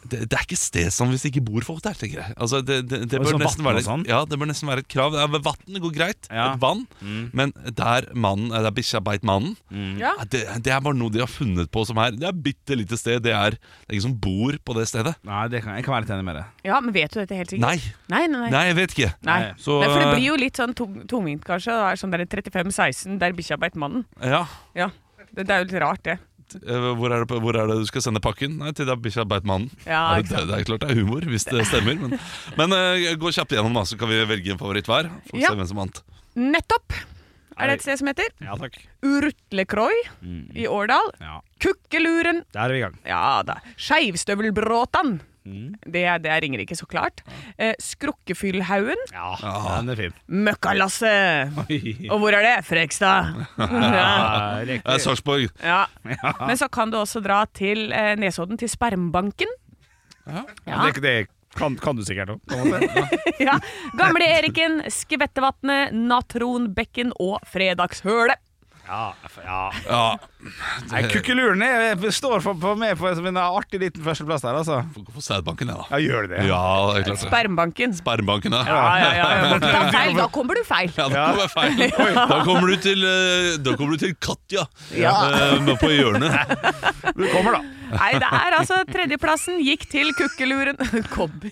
det, det er ikke stedsnavn hvis det ikke bor folk der, tenker jeg. Altså, det, det, det,
Og
bør
sånn
nesten
vatten
være,
og sånn.
ja, det bør nesten være et krav. Ja, men Vann går greit,
Ja.
et vann,
Mm.
men der, mannen, eh, der bikkja beit mannen
Ja.
ja, det, det er bare noe de har funnet på som her. Det er et bitte lite sted. Det er, det er ingen som bor på det stedet.
Nei, det kan, jeg kan være litt enig med deg.
Ja, men vet du dette helt sikkert?
Nei.
Nei, nei, nei.
Nei, jeg vet ikke.
Nei.
Så,
Nei, for det blir jo litt sånn tung, tungvint, kanskje. Det er sånn der 35-16 der bikkja beit mannen.
eh, Ja.
Ja. Det, det er jo litt rart, det.
Eh, Hvor er, det, hvor er det du skal sende pakken? Nei, til da bikkja beit mannen.
Ja,
det,
ikke
det,
sant.
er klart det er humor, hvis det stemmer. Men, men eh, gå kjapt gjennom, da, så kan vi velge en favoritt hver. Får vi
Ja.
se hvem som vant.
Nettopp! Er det et sted som heter
Ja, takk.
Urutlekroi i Årdal.
Ja.
Kukkeluren.
Der er vi i gang.
Ja da. Skeivstøvelbråtan. Det, er- det er Ringerike, så klart. Eh, Skrukkefyllhaugen.
Ja, den er fin.
Møkkalasset. Og hvor er det? Frekstad. ja.
(laughs) Ja,
Eh, Sarpsborg.
Ja. Men så kan du også dra til eh, Nesodden, til Spermbanken. Ja.
Det, det kan, kan du sikkert òg.
(laughs) ja. Gamle Eriken, Skvettevatnet, Natronbekken og Fredagshølet.
Ja, ja.
Ja.
Nei, Kukkeluren er- står for, for meg på som en artig liten førsteplass der, altså.
Får gå for sædbanken, jeg, da.
Ja, gjør det det?
Ja, det er klart det.
Spermbanken.
Spermbanken,
Ja,
ja.
ja, ja, (laughs) ja. Da, feil, da kommer du feil.
(laughs) Ja, det var
(laughs)
feil. Da kommer du til, eh, da kommer du til Katja
Ja.
eh, med på
(laughs)
hjørnet.
Du kommer, da.
Nei, det er altså tredjeplassen gikk til kukkeluren. (laughs) Kobber.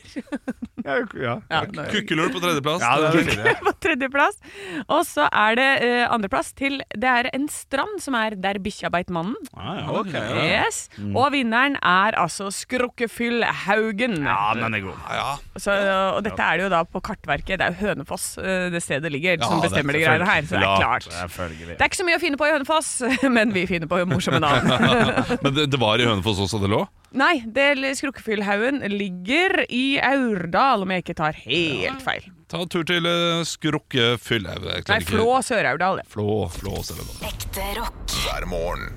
Ja, ja.
Ja, nå-
Kukkeløl på tredjeplass.
Ja, det er
Kuk-
fint, det.
på tredjeplass. Og så er det eh, andreplass til Det er en strand som er der bikkja beit mannen.
Ja, ja, ok, ja.
Yes. Og vinneren er altså Skrukkefyll Haugen.
ja, den er god.
ja,
Så, og dette er det jo da på Kartverket. Det er jo Hønefoss eh, det stedet ligger, som
det er
bestemmer de greiene her. Så det er klart.
Selvfølgelig.
Det er ikke så mye å finne på i Hønefoss, (laughs) men vi finner på morsomme navn.
(laughs) Men det, det var i Hønefoss også det lå?
Nei, det Skrukkefyllhaugen ligger i Aurdal, om jeg ikke tar helt feil.
Ta en tur til eh, Skrukkefyll. Jeg klarer
Nei,
ikke-
Flå Sør-Aurdal. det.
Flå, flå, ser du da.
Ekte rock.
Hver morgen.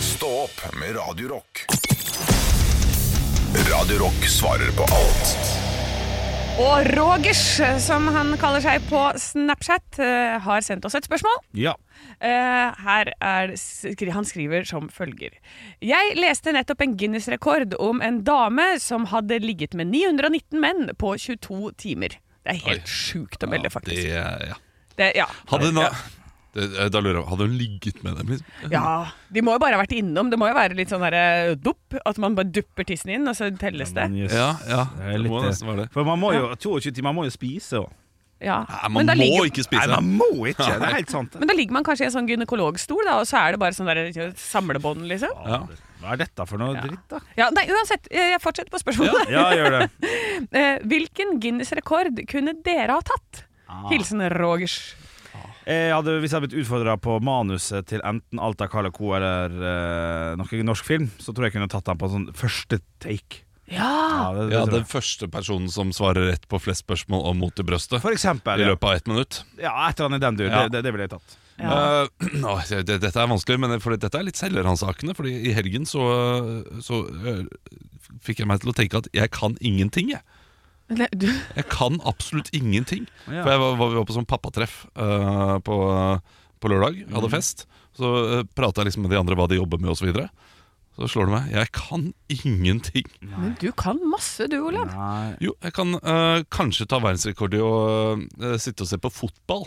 Stå opp med Radio Rock. Radio Rock svarer på alt.
Og Rogers, som han kaller seg på Snapchat, eh, har sendt oss et spørsmål.
Ja.
Eh, her er, skri- han skriver som følger. Jeg leste nettopp en Guinness-rekord om en dame som hadde ligget med 919 menn på 22 timer. Det er helt sjukt å melde, faktisk.
Det, ja.
Det, ja.
Hadde hun, det, eh, da lurer jeg, hadde hun ligget med dem? Liksom?
Ja, De må jo bare ha vært innom. Det må jo være litt sånn derre dupp. At man bare dupper tissen inn, og så telles det.
Ja, ja.
er
Det må
litt, eh,
nesten være det.
For man må jo 22 timer, man må jo spise òg.
Ja.
man
da
må
ligger-
ikke spise.
Nei, man må ikke. Det er helt sant.
Men da ligger man kanskje i en sånn gynekologstol, da, og så er det bare sånn der samlebånd, liksom.
Ja. Hva er dette for noe dritt, da?
Ja, nei, uansett, eh, jeg fortsetter på spørsmålet.
Ja, ja, gjør
(laughs) Eh, Hvilken Guinness-rekord kunne dere ha tatt? Hilsen Rogers.
Jeg hadde, hvis jeg hadde blitt utfordra på manuset til enten Alta Carl Co. eller eh, noen norsk film, så tror jeg jeg kunne tatt den på sånn første take.
Ja,
det- det
ja
tror jeg.
Den første personen som svarer rett på flest spørsmål om mot i brøstet.
For eksempel,
I
ja.
løpet av ett minutt.
Ja, et eller annet i den duren.
Ja.
Det, det, det ville jeg tatt.
Eh, (clears throat) nå, det- det- dette er vanskelig, men fordi dette er litt selvransakende. Fordi i helgen så, så eh, fikk jeg meg til å tenke at jeg kan ingenting, jeg.
Nei, du,
Jeg kan absolutt ingenting.
Ja.
For jeg var, var, vi var på sånn pappatreff eh, på, på lørdag. Jeg
Mhm.
hadde fest. Så uh, prata jeg liksom med de andre hva de jobber med osv. Så, videre. så slår det meg jeg kan ingenting.
men du kan masse, du, Olav.
Jo, jeg kan eh, kanskje ta verdensrekord i å eh, sitte og se på fotball.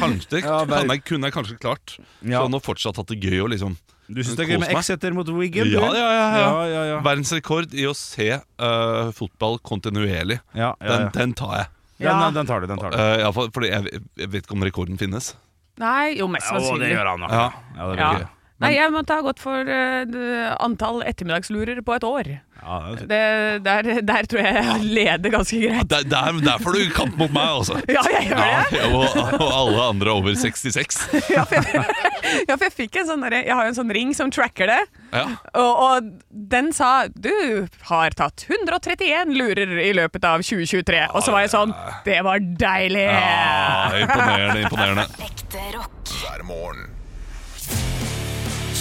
Kanskje det
(laughs) Ja,
kan
vel.
jeg, kunne jeg kanskje klart.
Ja.
Sånn og fortsatt hatt det gøy og liksom
Du syns det er gøy
kose
med
meg.
Exeter mot
Ja,
Wiggen? du?
ja, ja, ja,
Ja, ja, ja.
Verdensrekord i å se eh, fotball kontinuerlig.
Ja, ja, ja.
Den, den tar jeg.
Den- Ja. den- den tar du, den tar du.
Eh, ja, for, fordi jeg, jeg vet ikke om rekorden finnes.
Nei, jo, mest sannsynlig.
nok.
Ja.
Ja, det
Ja.
blir gøy.
Nei, jeg måtte ha gått for eh, d- antall ettermiddagslurer på et år.
Ja, det-
Det, der, der tror jeg jeg leder ganske greit.
Der, der, der får du kamp mot meg, altså.
Ja, jeg gjør det.
Ja, og, og alle andre over 66.
Ja, for jeg fikk en sånn derre- Jeg har jo en sånn ring som tracker det.
Ja.
Og, og den sa du har tatt 131 lurer i løpet av 2023. Og så var jeg sånn Det var deilig!
Ja, imponerende, imponerende.
Ekte rock.
Hver morgen.